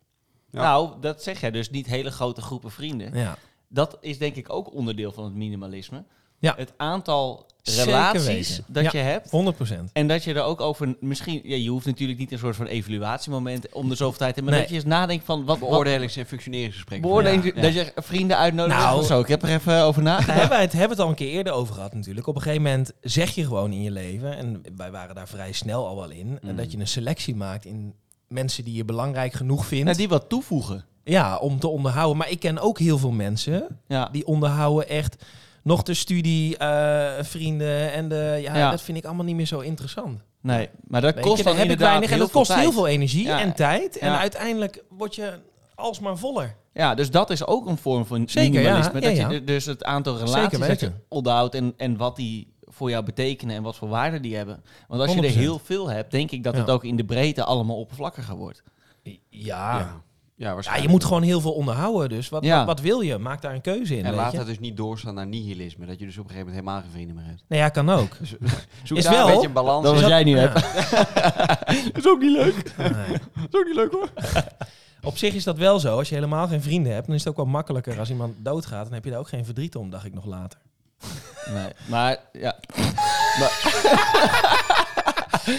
Speaker 4: Ja.
Speaker 3: Nou, dat zeg jij dus, niet hele grote groepen vrienden.
Speaker 2: Ja,
Speaker 3: Dat is denk ik ook onderdeel van het minimalisme.
Speaker 2: Ja.
Speaker 3: het aantal
Speaker 2: Zeker
Speaker 3: relaties
Speaker 2: weten.
Speaker 3: dat
Speaker 2: Ja.
Speaker 3: je hebt.
Speaker 2: 100 procent.
Speaker 3: En dat je er ook over, misschien, ja, je hoeft natuurlijk niet een soort van evaluatiemoment om de zoveel tijd te hebben, maar
Speaker 2: Nee.
Speaker 3: dat je eens nadenkt van wat beoordeling.
Speaker 4: Beoordelings- en functioneringsgesprekken.
Speaker 3: Beoordeling
Speaker 4: Ja.
Speaker 3: dat je vrienden uitnodigt.
Speaker 2: Nou.
Speaker 3: of zo. Ik heb er even over nagedacht.
Speaker 2: Daar hebben we, het, hebben we het al een keer eerder over gehad natuurlijk. Op een gegeven moment zeg je gewoon in je leven, en wij waren daar vrij snel al wel in, en
Speaker 3: Mhm.
Speaker 4: Mm.
Speaker 2: dat je een selectie maakt in mensen die je belangrijk genoeg vindt
Speaker 3: Nou, die wat toevoegen.
Speaker 2: ja, om te onderhouden. Maar ik ken ook heel veel mensen
Speaker 3: Ja.
Speaker 2: die onderhouden echt nog de studie, eh, vrienden en de... Ja,
Speaker 3: Ja.
Speaker 2: dat vind ik allemaal niet meer zo interessant.
Speaker 3: Nee, maar dat
Speaker 2: Weet
Speaker 3: kost
Speaker 2: je,
Speaker 3: dan
Speaker 2: daar heb ik
Speaker 3: inderdaad
Speaker 2: weinig en dat
Speaker 3: veel
Speaker 2: kost heel
Speaker 3: tijd.
Speaker 2: veel energie
Speaker 3: Ja.
Speaker 2: en tijd. En
Speaker 3: Ja.
Speaker 2: uiteindelijk word je alsmaar voller.
Speaker 3: Ja, dus dat is ook een vorm van
Speaker 2: Zeker,
Speaker 3: minimalisme.
Speaker 2: ja. Ja,
Speaker 3: Dat
Speaker 2: ja.
Speaker 3: je d- dus het aantal
Speaker 2: Zeker
Speaker 3: relaties dat je
Speaker 2: weten.
Speaker 3: onderhoudt en, en wat die voor jou betekenen en wat voor waarde die hebben. Want als je er
Speaker 2: 100%.
Speaker 3: heel veel hebt, denk ik dat het
Speaker 2: Ja.
Speaker 3: ook in de breedte allemaal oppervlakkiger wordt.
Speaker 2: Ja.
Speaker 4: Ja,
Speaker 2: Ah. Ja.
Speaker 4: ja waarschijnlijk.
Speaker 2: je moet gewoon heel veel onderhouden. Dus wat,
Speaker 3: Ja.
Speaker 2: wat, wat wil je? Maak daar een keuze in.
Speaker 4: En
Speaker 2: weet
Speaker 4: laat
Speaker 2: je?
Speaker 4: dat dus niet doorstaan naar nihilisme. Dat je dus op een gegeven moment helemaal geen vrienden meer hebt.
Speaker 2: Nee, ja, kan ook.
Speaker 4: Zoek
Speaker 2: Is
Speaker 4: daar
Speaker 2: wel-
Speaker 4: een beetje een balans.
Speaker 3: Dat
Speaker 4: in.
Speaker 3: was jij nu
Speaker 2: Ja.
Speaker 3: hebt. is ook niet leuk.
Speaker 2: Nee.
Speaker 3: is ook niet leuk hoor.
Speaker 2: Op zich is dat wel zo. Als je helemaal geen vrienden hebt, dan is het ook wel makkelijker. Als iemand doodgaat, dan heb je daar ook geen verdriet om, dacht ik nog later.
Speaker 3: Nee, maar ja.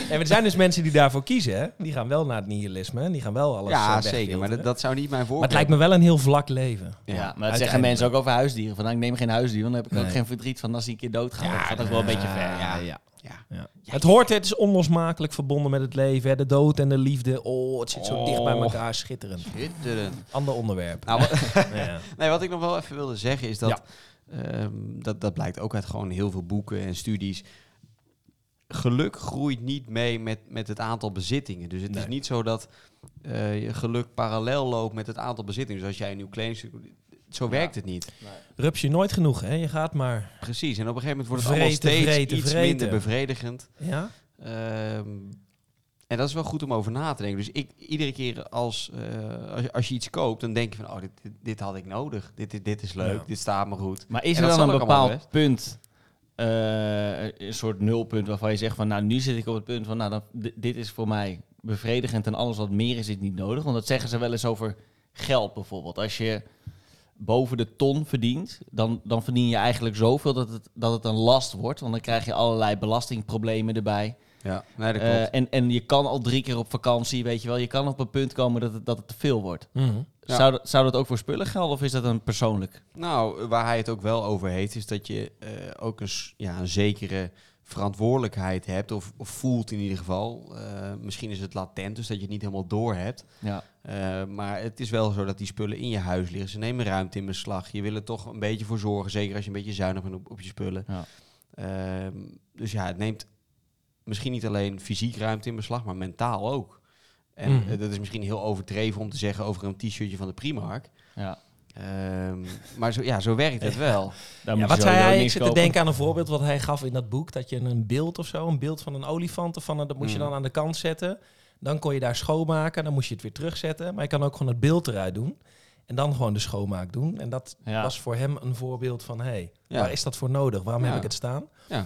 Speaker 2: En er zijn dus mensen die daarvoor kiezen. hè. Die gaan wel naar het nihilisme. en Die gaan wel alles eh,
Speaker 4: Ja,
Speaker 2: wegfilteren.
Speaker 4: zeker. Maar dat, dat zou niet mijn
Speaker 2: Maar het
Speaker 4: voorkeur
Speaker 2: lijkt me wel een heel vlak leven.
Speaker 3: Ja,
Speaker 4: Ja,
Speaker 3: maar dat zeggen
Speaker 2: uiteindelijk.
Speaker 3: mensen ook over huisdieren. Van, nou, ik neem geen huisdier, want dan heb ik ook
Speaker 2: Nee.
Speaker 3: geen verdriet van als die een keer doodgaat. dat gaat ook wel een beetje ver. Ja.
Speaker 2: ja.
Speaker 4: Ja.
Speaker 2: Het hoort, het is onlosmakelijk verbonden met het leven. hè. De dood en de liefde. Oh, het zit zo
Speaker 4: Oh.
Speaker 2: dicht bij elkaar. Schitterend.
Speaker 4: Schitterend.
Speaker 2: Ander onderwerp.
Speaker 4: Nou, wat-
Speaker 2: Ja.
Speaker 4: nee, wat ik nog wel even wilde zeggen is dat,
Speaker 2: Ja.
Speaker 4: ehm, dat... Dat blijkt ook uit gewoon heel veel boeken en studies. Geluk groeit niet mee met, met het aantal bezittingen. Dus het
Speaker 2: Nee.
Speaker 4: is niet zo dat eh, je geluk parallel loopt met het aantal bezittingen. Dus als jij een nieuw kledingstuk... Zo werkt het niet.
Speaker 2: Rupsje nooit genoeg, hè? Je gaat maar.
Speaker 4: Precies. En op een gegeven moment wordt het allemaal
Speaker 2: Vreten,
Speaker 4: steeds
Speaker 2: vreten,
Speaker 4: iets
Speaker 2: vreten.
Speaker 4: minder bevredigend.
Speaker 2: Ja?
Speaker 4: Ehm, en dat is wel goed om over na te denken. Dus ik, iedere keer als, eh, als, je, als je iets koopt, dan denk je van, oh, dit, dit- dit had ik nodig. Dit, dit, dit is leuk,
Speaker 2: Ja.
Speaker 4: dit staat me goed.
Speaker 3: Maar is
Speaker 4: En
Speaker 3: er
Speaker 4: dat
Speaker 3: dan
Speaker 4: zal
Speaker 3: een
Speaker 4: ook allemaal
Speaker 3: bepaald punt, eh, een soort nulpunt waarvan je zegt van nou nu zit ik op het punt van nou dan, di- dit is voor mij bevredigend en alles wat meer is dit niet nodig. Want dat zeggen ze wel eens over geld bijvoorbeeld. Als je boven de ton verdient, dan, dan verdien je eigenlijk zoveel dat het, dat het een last wordt. Want dan krijg je allerlei belastingproblemen erbij.
Speaker 4: Ja, nee, dat
Speaker 3: Eh, en, en je kan al drie keer op vakantie, weet je wel. Je kan op een punt komen dat het, dat het te veel wordt.
Speaker 4: Ja.
Speaker 3: Zou, dat, zou dat ook voor spullen gelden of is dat een persoonlijk?
Speaker 4: Nou, waar hij het ook wel over heeft, is dat je eh, ook een, s- ja, een zekere verantwoordelijkheid hebt, of, of voelt in ieder geval. Eh, misschien is het latent, dus dat je het niet helemaal door hebt.
Speaker 3: Ja.
Speaker 4: Eh, maar het is wel zo dat die spullen in je huis liggen. Ze nemen ruimte in beslag. Je wil er toch een beetje voor zorgen. Zeker als je een beetje zuinig bent op, op je spullen.
Speaker 3: Ja.
Speaker 4: Ehm, dus ja, het neemt misschien niet alleen fysiek ruimte in beslag, maar mentaal ook. En
Speaker 2: Mhm.
Speaker 4: eh, dat is misschien heel overdreven om te zeggen over een t-shirtje van de Primark.
Speaker 3: ja.
Speaker 4: Ehm, maar zo, ja, zo werkt het wel.
Speaker 3: Daar
Speaker 2: Ja,
Speaker 3: moet
Speaker 2: wat zei
Speaker 3: je sowieso
Speaker 2: hij? Ik
Speaker 3: niks
Speaker 2: zit te
Speaker 3: kopen.
Speaker 2: denken aan een voorbeeld wat hij gaf in dat boek. Dat je een beeld of zo, een beeld van een olifant, of van een, dat moest je
Speaker 4: Mm.
Speaker 2: dan aan de kant zetten. Dan kon je daar schoonmaken, dan moest je het weer terugzetten. Maar je kan ook gewoon het beeld eruit doen. En dan gewoon de schoonmaak doen. En dat
Speaker 3: Ja.
Speaker 2: was voor hem een voorbeeld van, hey,
Speaker 4: Ja.
Speaker 2: waar is dat voor nodig? Waarom
Speaker 4: Ja.
Speaker 2: heb ik het staan?
Speaker 4: Ja.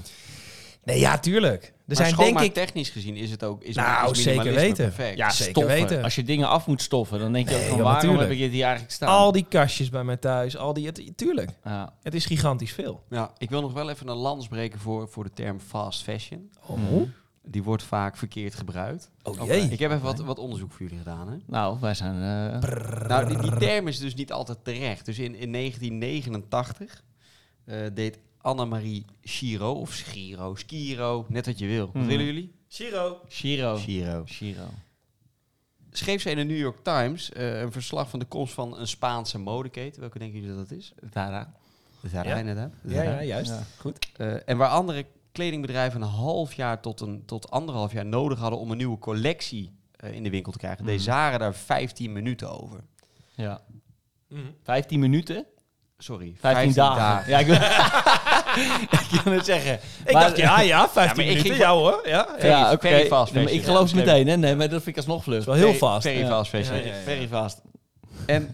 Speaker 2: Nee, ja, tuurlijk. Er
Speaker 4: Er
Speaker 2: zijn denk ik...
Speaker 4: technisch gezien is het ook is,
Speaker 2: Nou,
Speaker 4: is
Speaker 2: zeker
Speaker 4: minimalisme
Speaker 2: weten.
Speaker 4: perfect.
Speaker 3: Ja,
Speaker 2: Zeker
Speaker 3: stoffen.
Speaker 2: weten.
Speaker 3: Als je dingen af moet stoffen, dan denk je ook
Speaker 2: Nee,
Speaker 3: van
Speaker 2: joh,
Speaker 3: waarom
Speaker 2: natuurlijk.
Speaker 3: heb ik dit hier eigenlijk staan?
Speaker 2: Al die kastjes bij mij thuis, al die... het- tuurlijk,
Speaker 3: Ja.
Speaker 2: het is gigantisch veel.
Speaker 4: Ja, ik wil nog wel even een lans breken voor, voor de term fast fashion.
Speaker 2: Oh,
Speaker 4: Die wordt vaak verkeerd gebruikt.
Speaker 2: oh jee.
Speaker 4: Ik heb even wat, wat onderzoek voor jullie gedaan. Hè?
Speaker 3: Nou, wij zijn... eh,
Speaker 4: Nou, die, die term is dus niet altijd terecht. Dus in, in 1989 eh, deed Annemarie Schiro, of Schiro, Schiro, net wat je wil. Wat
Speaker 3: Hmm.
Speaker 4: willen jullie?
Speaker 2: Shiro.
Speaker 3: Shiro.
Speaker 4: Schiro.
Speaker 3: Shiro.
Speaker 4: Schreef ze in de New York Times eh, een verslag van de komst van een Spaanse modeketen. Welke denken jullie dat dat is?
Speaker 3: Tara.
Speaker 4: Zara,
Speaker 2: Ja.
Speaker 4: inderdaad.
Speaker 2: Ja, ja, juist.
Speaker 3: Ja.
Speaker 2: Goed.
Speaker 4: Eh, en waar andere kledingbedrijven een half jaar tot, een, tot anderhalf jaar nodig hadden om een nieuwe collectie eh, in de winkel te krijgen, deed Zara daar 15 minuten over.
Speaker 3: Ja. 15 minuten? 15,
Speaker 4: Sorry, 15,
Speaker 3: dagen. Ja, ik wil... ik wil het zeggen.
Speaker 2: Ik
Speaker 3: Maar-
Speaker 2: dacht, ja, ja, 15
Speaker 4: ik
Speaker 2: minuten.
Speaker 4: ging-
Speaker 2: Ja hoor, ja. ja.
Speaker 3: Ja, oké.
Speaker 4: very
Speaker 3: Nee,
Speaker 4: fast
Speaker 3: maar
Speaker 4: fashion.
Speaker 3: ik geloof
Speaker 4: Ja,
Speaker 3: het meteen, hè? Nee, maar dat vind ik alsnog vlug.
Speaker 2: Wel heel vast.
Speaker 4: Very
Speaker 3: Ja.
Speaker 4: fast fashion.
Speaker 2: Ja, ja, ja.
Speaker 4: Very
Speaker 3: Very fast.
Speaker 4: En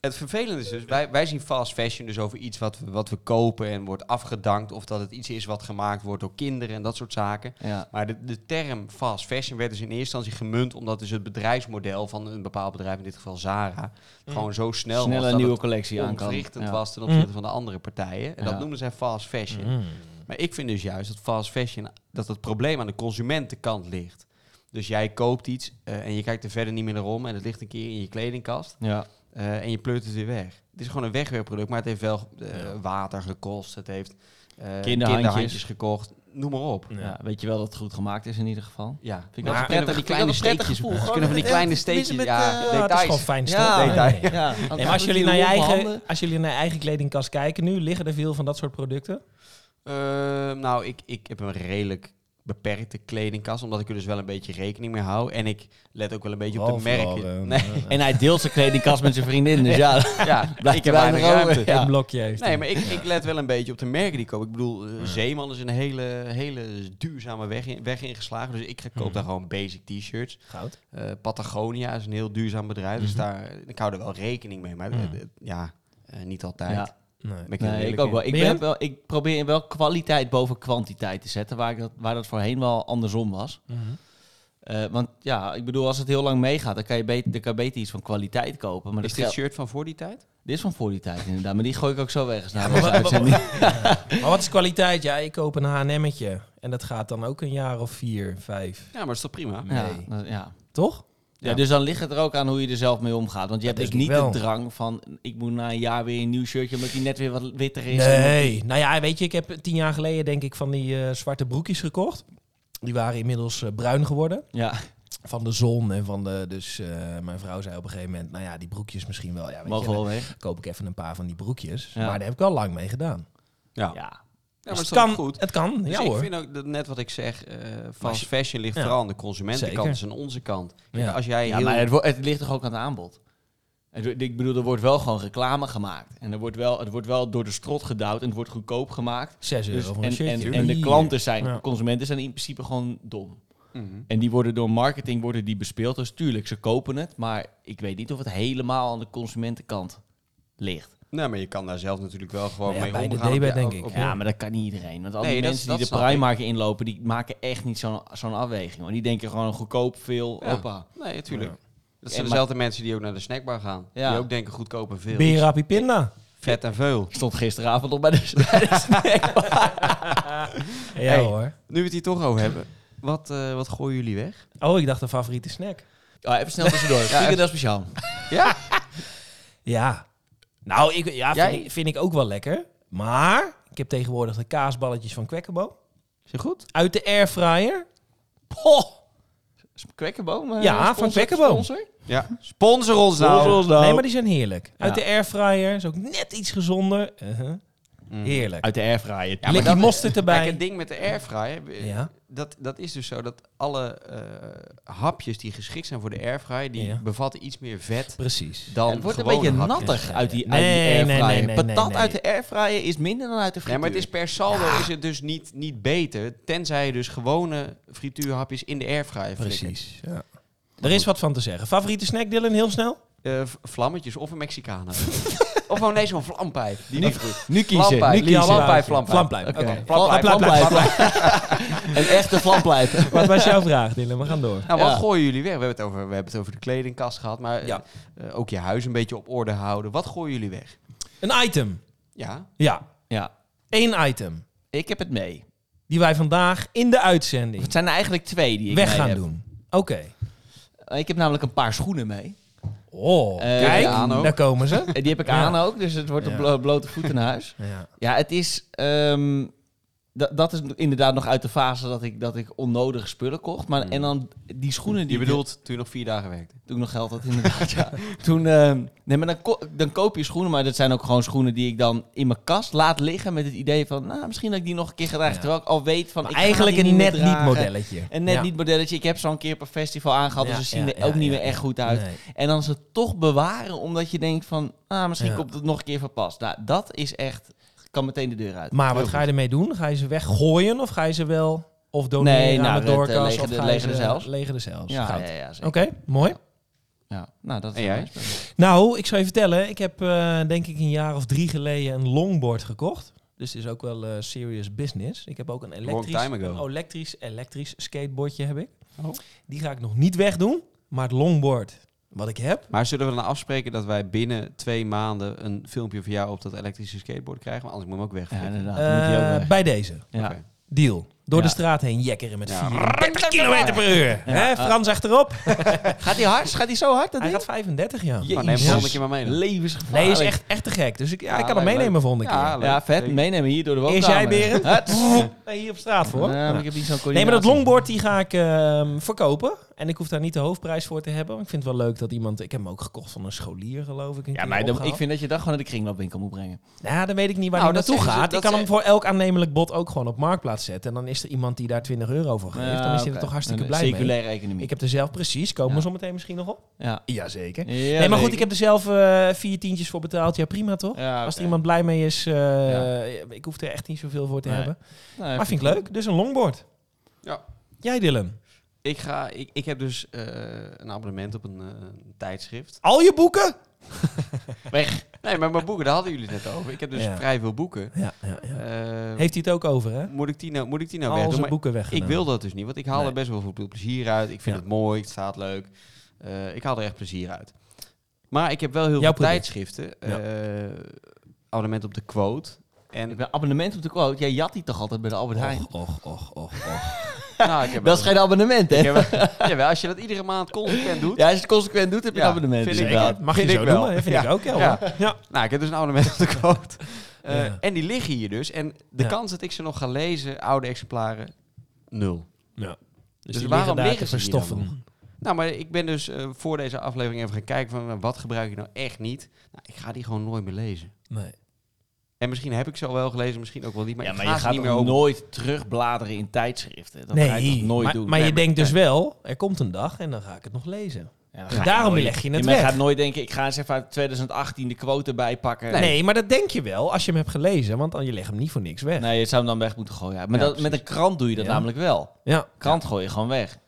Speaker 4: het vervelende is dus, wij, wij zien fast fashion dus over iets wat we, wat we kopen en wordt afgedankt. Of dat het iets is wat gemaakt wordt door kinderen en dat soort zaken.
Speaker 3: Ja.
Speaker 4: Maar de, de term fast fashion werd dus in eerste instantie gemunt omdat dus het bedrijfsmodel van een bepaald bedrijf, in dit geval Zara, gewoon zo snel was
Speaker 3: Snelle
Speaker 4: dat
Speaker 3: Mm. nieuwe
Speaker 4: het
Speaker 3: collectie aan kan.
Speaker 4: ontrichtend
Speaker 3: Ja. Mm.
Speaker 4: was ten opzichte van de andere partijen. En
Speaker 3: Ja. Mm.
Speaker 4: dat noemden zij fast fashion.
Speaker 2: Mm.
Speaker 4: Maar ik vind dus juist dat fast fashion, dat het probleem aan de consumentenkant ligt. Dus jij koopt iets eh, en je kijkt er verder niet meer naar om en het ligt een keer in je kledingkast.
Speaker 3: Ja.
Speaker 4: Eh, en je pleurt het weer weg. Het is gewoon een wegwerpproduct, maar het heeft wel eh,
Speaker 2: Ja.
Speaker 4: water gekost. Het heeft eh,
Speaker 3: Kinderhandjes.
Speaker 4: gekocht. Noem maar op.
Speaker 2: Ja.
Speaker 3: Ja, weet je wel dat het goed gemaakt is in ieder geval?
Speaker 4: Ja.
Speaker 3: Vind ik
Speaker 4: Maar
Speaker 3: wel
Speaker 4: kunnen
Speaker 3: prettig.
Speaker 4: we die
Speaker 3: Vind ik wel
Speaker 4: kleine
Speaker 3: een prettig
Speaker 4: steekjes
Speaker 3: gevoel.
Speaker 4: kunnen
Speaker 3: Gewoon
Speaker 4: we die
Speaker 3: het-
Speaker 4: kleine
Speaker 3: het-
Speaker 4: steekjes
Speaker 3: met,
Speaker 2: Ja,
Speaker 3: eh,
Speaker 4: ja,
Speaker 2: dat is
Speaker 4: details.
Speaker 2: gewoon fijn stof.
Speaker 3: Ja.
Speaker 2: Nee, nee, nee.
Speaker 3: Ja.
Speaker 2: En maar als jullie, naar je eigen, als jullie naar je eigen kledingkast kijken nu, liggen er veel van dat soort producten?
Speaker 4: Eh, nou, ik, ik heb een redelijk beperkte kledingkast, omdat ik er dus wel een beetje rekening mee hou. En ik let ook wel een beetje op de merken. Nee,
Speaker 3: En hij deelt zijn kledingkast met zijn vriendin, dus ja,
Speaker 2: eh,
Speaker 4: ja,
Speaker 3: blijft
Speaker 4: ik heb
Speaker 3: weinig
Speaker 4: weinig ruimte.
Speaker 3: over. Ja.
Speaker 2: Een blokje heeft.
Speaker 4: Nee, maar ik, ik let wel een beetje op de merken die ik koop. Ik bedoel, eh, Zeeman is een hele, hele duurzame weg, in, weg ingeslagen. Dus ik koop daar gewoon basic t-shirts.
Speaker 2: Goud.
Speaker 4: Eh, Patagonia is een heel duurzaam bedrijf. Dus
Speaker 2: Mhm.
Speaker 4: daar, ik hou er wel rekening mee. Maar eh,
Speaker 2: Mhm.
Speaker 4: eh, ja, eh, niet altijd. Eh,
Speaker 3: Ja.
Speaker 2: Nee.
Speaker 4: Ben ik heel
Speaker 3: Nee, ik
Speaker 4: eerlijk
Speaker 3: ook
Speaker 4: in.
Speaker 3: wel. Ik,
Speaker 2: Ben jij?
Speaker 3: ben wel. ik probeer wel kwaliteit boven kwantiteit te zetten, waar, ik dat, waar dat voorheen wel andersom was. Eh, want ja, ik bedoel, als het heel lang meegaat, dan kan je beter, dan kan je beter iets van kwaliteit kopen. Maar
Speaker 4: Is
Speaker 3: dat
Speaker 4: dit
Speaker 3: geld-
Speaker 4: shirt van voor die tijd?
Speaker 3: dit is van voor die tijd inderdaad, maar die gooi ik ook zo weg. Dus Ja,
Speaker 2: maar wa- wa- Maar wat is kwaliteit? Ja, ik koop een H&M'tje. En dat gaat dan ook een jaar of vier, vijf.
Speaker 4: Ja, maar is toch prima?
Speaker 3: ja,
Speaker 2: Nee.
Speaker 3: dat- ja.
Speaker 2: Toch?
Speaker 3: Ja,
Speaker 4: Ja.
Speaker 3: dus dan ligt het er ook aan hoe je er zelf mee omgaat. Want je
Speaker 2: Dat
Speaker 3: hebt dus
Speaker 2: denk
Speaker 3: niet
Speaker 2: ik wel.
Speaker 3: de drang van... ik moet na een jaar weer een nieuw shirtje... omdat die net weer wat witter is.
Speaker 2: Nee. Nou ja, weet je, ik heb tien jaar geleden denk ik van die eh, zwarte broekjes gekocht. Die waren inmiddels eh, bruin geworden.
Speaker 3: Ja,
Speaker 2: Van de zon en van de... Dus eh, mijn vrouw zei op een gegeven moment... Nou ja, die broekjes misschien wel. Ja, weet
Speaker 3: mogen
Speaker 2: je,
Speaker 3: wel weg.
Speaker 2: dan koop ik even een paar van die broekjes.
Speaker 3: Ja.
Speaker 2: Maar daar heb ik wel lang mee gedaan.
Speaker 4: Ja, ja
Speaker 3: Ja.
Speaker 2: Dus
Speaker 4: maar is
Speaker 2: het
Speaker 4: toch
Speaker 2: kan.
Speaker 4: goed?
Speaker 2: Het kan,
Speaker 4: Dus
Speaker 2: ja
Speaker 4: ik
Speaker 2: hoor.
Speaker 4: vind ook dat net wat ik zeg, eh
Speaker 2: Maar
Speaker 4: fast fashion ligt
Speaker 2: ja.
Speaker 4: vooral aan de consumentenkant,
Speaker 2: Zeker.
Speaker 4: dus aan onze kant. Kijk,
Speaker 2: Ja.
Speaker 4: Als jij
Speaker 3: ja
Speaker 4: heel
Speaker 3: maar het, wo- het ligt toch ook aan het aanbod? Het wo- ik bedoel, er wordt wel gewoon reclame gemaakt. En er wordt wel, het wordt wel door de strot gedouwd en het wordt goedkoop gemaakt.
Speaker 2: Zes euro
Speaker 3: Dus,
Speaker 2: voor een
Speaker 3: en,
Speaker 2: shirtje.
Speaker 3: en, en de
Speaker 2: Hier.
Speaker 3: klanten zijn,
Speaker 2: Ja.
Speaker 3: consumenten zijn in principe gewoon dom.
Speaker 4: Mhm.
Speaker 3: En die worden door marketing worden die bespeeld. Dus tuurlijk, ze kopen het. Maar ik weet niet of het helemaal aan de consumentenkant ligt.
Speaker 4: Nou, maar je kan daar zelf natuurlijk wel gewoon
Speaker 2: Nou ja,
Speaker 4: mee
Speaker 2: bij de
Speaker 4: omgaan.
Speaker 2: debet
Speaker 4: Ja,
Speaker 2: denk
Speaker 4: ook-
Speaker 2: ik.
Speaker 4: ook-
Speaker 3: Ja, maar dat kan niet iedereen. Want al
Speaker 4: Nee,
Speaker 3: die
Speaker 4: dat-
Speaker 3: mensen
Speaker 4: dat
Speaker 3: die de
Speaker 4: snap
Speaker 3: Primark inlopen, die maken echt niet zo'n zo'n afweging. Hoor. Die denken gewoon goedkoop, veel,
Speaker 4: Ja.
Speaker 3: hoppa.
Speaker 4: Nee, natuurlijk. Dat
Speaker 3: En
Speaker 4: zijn dezelfde mensen die ook naar de snackbar gaan.
Speaker 3: Ja.
Speaker 4: Die ook denken goedkoop en veel.
Speaker 2: Berapi Pinda.
Speaker 4: Vet en veel.
Speaker 3: Ik stond gisteravond op bij de, bij de snack.
Speaker 2: Ja
Speaker 4: Hey.
Speaker 2: hoor.
Speaker 4: Nu we het hier toch over hebben. Wat, eh, wat gooien jullie weg?
Speaker 2: Oh, ik dacht een favoriete snack.
Speaker 3: Oh, even snel tussendoor. Vind je dat speciaal?
Speaker 2: Ja. Nou, ik, ja, vind,
Speaker 4: Jij?
Speaker 2: ik, vind ik ook wel lekker. Maar ik heb tegenwoordig de kaasballetjes van Quekkerbo.
Speaker 4: Is het goed?
Speaker 2: Uit de airfryer. Poh.
Speaker 3: Kwekkenboom? eh,
Speaker 2: Ja, van
Speaker 3: sponsor-
Speaker 2: Kwekkenboom.
Speaker 3: sponsor?
Speaker 4: Ja. Sponsor ons nou.
Speaker 3: Sponsor ons nou.
Speaker 2: Nee, maar die zijn heerlijk. Uit
Speaker 3: Ja.
Speaker 2: de airfryer. Is ook net iets gezonder. Uh-huh. Heerlijk.
Speaker 3: Uit de airfryer.
Speaker 2: Ja, Likkie mosterd
Speaker 4: Kijk,
Speaker 2: erbij.
Speaker 4: het ding met de airfryer, eh,
Speaker 2: Ja.
Speaker 4: dat, dat is dus zo dat alle eh, hapjes die geschikt zijn voor de airfryer, die
Speaker 2: Ja.
Speaker 4: bevatten iets meer vet
Speaker 2: Precies.
Speaker 4: dan
Speaker 3: het wordt een
Speaker 4: gewone
Speaker 3: beetje
Speaker 4: hapjes.
Speaker 3: nattig uit die, uit
Speaker 2: Nee,
Speaker 3: die
Speaker 2: nee, nee,
Speaker 3: airfryer.
Speaker 2: nee, nee,
Speaker 3: Patat
Speaker 2: nee.
Speaker 3: uit de airfryer is minder dan uit de
Speaker 4: Nee,
Speaker 3: frituur.
Speaker 4: maar het is per saldo is het dus niet, niet beter, tenzij je dus gewone frituurhapjes in de airfryer flikkert.
Speaker 2: Precies. Ja. Er is wat van te zeggen. Favoriete snack, Dylan? Heel snel.
Speaker 4: Eh, v- vlammetjes of een Mexicana. of gewoon nee, zo'n vlampijp. Die niet goed.
Speaker 3: Nu kiezen, nu
Speaker 4: Vlampijp,
Speaker 3: kiezen.
Speaker 4: vlampijp, vlampijp.
Speaker 2: Vlampijp.
Speaker 4: Oké.
Speaker 2: Oké.
Speaker 4: Vlampijp,
Speaker 2: Vlampijp.
Speaker 3: Een echte vlampleider.
Speaker 2: Wat was jouw vraag, Dylan? We gaan door.
Speaker 4: Nou, wat
Speaker 3: Ja.
Speaker 4: gooien jullie weg? We hebben, het over, we hebben het over de kledingkast gehad, maar eh,
Speaker 2: Ja.
Speaker 4: eh, ook je huis een beetje op orde houden. Wat gooien jullie weg?
Speaker 2: Een item.
Speaker 4: Ja,
Speaker 2: Ja.
Speaker 3: Ja,
Speaker 2: Eén item.
Speaker 3: ik heb het mee.
Speaker 2: Die wij vandaag in de
Speaker 3: Of
Speaker 2: uitzending
Speaker 3: Het zijn er eigenlijk twee die ik nou?
Speaker 2: weg
Speaker 3: mee
Speaker 2: gaan
Speaker 3: heb.
Speaker 2: doen. Oké.
Speaker 3: Eh, Ik heb namelijk een paar schoenen mee.
Speaker 2: Oh,
Speaker 3: Eh,
Speaker 2: kijk,
Speaker 3: ja,
Speaker 4: aan ook.
Speaker 2: daar komen ze.
Speaker 3: En die heb ik
Speaker 2: Ja.
Speaker 3: aan ook, dus het wordt
Speaker 2: Ja.
Speaker 3: op blo- blote voeten naar huis.
Speaker 2: Ja.
Speaker 3: Ja, het is... ehm, da- dat is inderdaad nog uit de fase dat ik, dat ik onnodige spullen kocht. Maar,
Speaker 4: Mm.
Speaker 3: En dan die schoenen die...
Speaker 4: je bedoelt toen je nog vier dagen werkte.
Speaker 3: Toen ik nog geld had, inderdaad, ja. Toen, ehm, nee, maar dan, ko- dan koop je schoenen, maar dat zijn ook gewoon schoenen die ik dan in mijn kast laat liggen met het idee van, nou, misschien dat ik die nog een keer ga dragen.
Speaker 2: Ja.
Speaker 3: Terwijl ik al weet van,
Speaker 2: Maar
Speaker 3: ik ga
Speaker 2: eigenlijk
Speaker 3: die
Speaker 2: een
Speaker 3: meer
Speaker 2: net niet
Speaker 3: dragen.
Speaker 2: modelletje.
Speaker 3: Een net
Speaker 2: Ja.
Speaker 3: niet modelletje. Ik heb ze al een keer op een festival aangehad,
Speaker 2: Ja,
Speaker 3: dus ze zien
Speaker 2: ja,
Speaker 3: er
Speaker 2: ja,
Speaker 3: ook niet
Speaker 2: ja,
Speaker 3: meer
Speaker 2: ja.
Speaker 3: echt goed uit.
Speaker 2: Nee.
Speaker 3: En dan ze het toch bewaren omdat je denkt van, ah, misschien
Speaker 2: Ja.
Speaker 3: komt het nog een keer van pas. Nou, dat is echt, kan meteen de deur uit.
Speaker 2: Maar
Speaker 4: Heel
Speaker 2: wat ga je
Speaker 4: goed.
Speaker 2: ermee doen? Ga je ze weggooien of ga je ze wel of doneren
Speaker 3: Nee, nou,
Speaker 2: aan
Speaker 3: het,
Speaker 2: de
Speaker 3: eh,
Speaker 2: doorkast?
Speaker 3: lege
Speaker 2: of
Speaker 3: de-
Speaker 2: ga je
Speaker 3: lege de
Speaker 2: ze-
Speaker 3: zelfs.
Speaker 2: Lege de zelfs.
Speaker 3: Ja,
Speaker 2: Goud.
Speaker 3: ja, ja, zeker.
Speaker 2: Oké, mooi.
Speaker 3: Ja, nou, dat is
Speaker 4: En
Speaker 3: wel
Speaker 4: jij?
Speaker 3: best.
Speaker 2: Nou, ik zou je vertellen, ik heb eh, denk ik een jaar of drie geleden een longboard gekocht. Dus het is ook wel eh, serious business. Ik heb ook een elektrisch,
Speaker 4: time ago.
Speaker 2: Een elektrisch, elektrisch skateboardje heb ik.
Speaker 4: Oh.
Speaker 2: Die ga ik nog niet wegdoen, maar het longboard wat ik heb.
Speaker 4: Maar zullen we dan afspreken dat wij binnen twee maanden een filmpje van jou op dat elektrische skateboard krijgen? Want anders moet ik hem ook
Speaker 3: Ja,
Speaker 4: weg.
Speaker 3: inderdaad. dan moet die ook
Speaker 2: eh,
Speaker 3: weg.
Speaker 2: bij deze.
Speaker 3: Ja.
Speaker 4: Oké.
Speaker 2: Deal. Door
Speaker 3: Ja.
Speaker 2: de straat heen jekkeren met
Speaker 4: Ja.
Speaker 2: 34 km per uur. Hè, Frans achterop.
Speaker 3: Gaat die hard? Gaat die zo hard? Dat
Speaker 2: Hij
Speaker 3: ding?
Speaker 2: gaat 35, ja. Oh,
Speaker 4: Nou, neem hem volgende keer maar mee. dan.
Speaker 3: Levensgevaarlijk.
Speaker 2: Nee, is echt, echt te gek. Dus ik, ja,
Speaker 4: Ja,
Speaker 2: ik kan hem
Speaker 4: leuk,
Speaker 2: meenemen
Speaker 4: leuk.
Speaker 2: volgende keer.
Speaker 4: Ja, leuk.
Speaker 3: Ja, vet.
Speaker 4: Zeker.
Speaker 3: Meenemen hier door de
Speaker 2: Eerst
Speaker 3: woonkamer.
Speaker 2: jij, Berend?
Speaker 3: Huts.
Speaker 2: Nee, hier op straat voor.
Speaker 3: Ja, maar ik heb niet zo'n
Speaker 2: Nee, maar dat
Speaker 3: coördinatie.
Speaker 2: longboard die ga ik ehm, verkopen. En ik hoef daar niet de hoofdprijs voor te hebben. Want ik vind het wel leuk dat iemand... Ik heb hem ook gekocht van een scholier, geloof ik. een
Speaker 3: Ja,
Speaker 2: keer
Speaker 3: maar dan- ik
Speaker 2: opgehaald.
Speaker 3: vind dat je dat gewoon naar de kringloopwinkel moet brengen.
Speaker 2: Nou, dan weet ik niet waar
Speaker 4: Nou,
Speaker 2: hij
Speaker 4: dat
Speaker 2: naartoe
Speaker 4: zeggen ze-
Speaker 2: gaat. ik
Speaker 4: dat
Speaker 2: kan hem voor elk aannemelijk bod ook gewoon op Marktplaats zetten. En dan is er iemand die daar 20 euro voor geeft. dan is hij er
Speaker 3: oké.
Speaker 2: toch hartstikke
Speaker 3: Een
Speaker 2: blij mee.
Speaker 3: Circulaire economie.
Speaker 2: Ik heb er zelf precies. Komen
Speaker 3: Ja.
Speaker 2: we zo meteen misschien nog op?
Speaker 3: ja.
Speaker 2: Jazeker.
Speaker 3: Ja,
Speaker 2: nee, maar goed,
Speaker 3: zeker.
Speaker 2: ik heb er zelf eh, vier tientjes voor betaald. Ja, prima toch?
Speaker 3: Ja,
Speaker 2: Als er
Speaker 3: oké.
Speaker 2: iemand blij mee is, eh, ik hoef er echt niet zoveel voor te
Speaker 3: Nee.
Speaker 2: hebben.
Speaker 3: Nou, even-
Speaker 2: Maar vind ik leuk. Dus een longboard.
Speaker 4: Ja.
Speaker 2: Jij Dylan.
Speaker 4: Ik, ga, ik, ik heb dus eh, een abonnement op een, eh, een tijdschrift.
Speaker 2: Al je boeken?
Speaker 3: Weg.
Speaker 4: Nee, maar mijn boeken, daar hadden jullie het net over. Ik heb dus
Speaker 2: Ja.
Speaker 4: vrij veel boeken.
Speaker 2: Ja, ja, ja.
Speaker 4: Eh,
Speaker 2: Heeft hij het ook over, hè?
Speaker 4: moet ik die nou, moet ik die nou
Speaker 2: Al
Speaker 4: wegdoen?
Speaker 2: zijn
Speaker 4: Maar
Speaker 2: boeken weg.
Speaker 4: ik wil dat dus niet, want ik haal
Speaker 2: Nee.
Speaker 4: er best wel veel plezier uit. Ik vind
Speaker 2: Ja.
Speaker 4: het mooi, het staat leuk. Eh, ik haal er echt plezier uit. Maar ik heb wel heel
Speaker 2: Jouw
Speaker 4: veel
Speaker 2: product.
Speaker 4: tijdschriften.
Speaker 2: Ja.
Speaker 4: eh, abonnement op de quote. En
Speaker 3: Ik ben abonnement op de quote. Jij jat die toch altijd bij de Albert Heijn?
Speaker 2: Och, och, och, och, och.
Speaker 4: nou, ik heb
Speaker 3: dat is geen abonnement, hè?
Speaker 4: Ik heb- Jawel, als je dat iedere maand consequent doet.
Speaker 3: Ja, als je het consequent doet, heb je
Speaker 4: Ja,
Speaker 3: een abonnement.
Speaker 4: vind
Speaker 3: Dus
Speaker 4: ik
Speaker 3: wel.
Speaker 4: wel.
Speaker 2: Mag je
Speaker 4: Vind
Speaker 2: zo
Speaker 4: ik wel.
Speaker 2: noemen? hè? Vind
Speaker 4: Ja.
Speaker 2: ik ook, ja.
Speaker 4: Ja.
Speaker 2: hoor. ja.
Speaker 4: Nou, ik heb dus een abonnement op de quote. Eh,
Speaker 2: Ja.
Speaker 4: En die liggen hier dus. En de
Speaker 2: Ja.
Speaker 4: kans dat ik ze nog ga lezen, oude exemplaren, nul.
Speaker 2: Dus,
Speaker 4: Dus
Speaker 2: die liggen
Speaker 4: waarom
Speaker 2: daar te
Speaker 4: liggen ze hier dan
Speaker 2: verstoffen?
Speaker 4: Nou, maar ik ben dus eh, voor deze aflevering even gaan kijken van eh, wat gebruik ik nou echt niet. Nou, ik ga die gewoon nooit meer lezen.
Speaker 2: Nee.
Speaker 4: En misschien heb ik ze al wel gelezen, misschien ook wel niet. Maar
Speaker 3: Ja,
Speaker 4: ik
Speaker 3: maar
Speaker 4: ga
Speaker 3: je
Speaker 4: ze
Speaker 3: gaat
Speaker 4: niet meer
Speaker 3: ook
Speaker 4: open.
Speaker 3: nooit terugbladeren in tijdschriften. Dat ga je
Speaker 2: nee,
Speaker 3: toch nooit
Speaker 2: maar,
Speaker 3: doen.
Speaker 2: maar
Speaker 3: Nee,
Speaker 2: je denkt dus wel, er komt een dag en dan ga ik het nog lezen.
Speaker 3: Ja, dat ga je
Speaker 2: Daarom
Speaker 3: nooit.
Speaker 2: leg je het
Speaker 3: maar
Speaker 2: weg.
Speaker 3: gaat nooit denken, ik ga eens even uit 2018 de quote erbij pakken.
Speaker 2: Nee. maar dat denk je wel als je hem hebt gelezen, want dan je legt hem niet voor niks weg.
Speaker 3: Nee, je zou hem dan weg moeten gooien. Maar
Speaker 4: Ja,
Speaker 3: dat, met een krant doe je dat
Speaker 2: Ja.
Speaker 3: namelijk wel.
Speaker 2: Ja.
Speaker 3: Krant gooi je gewoon weg.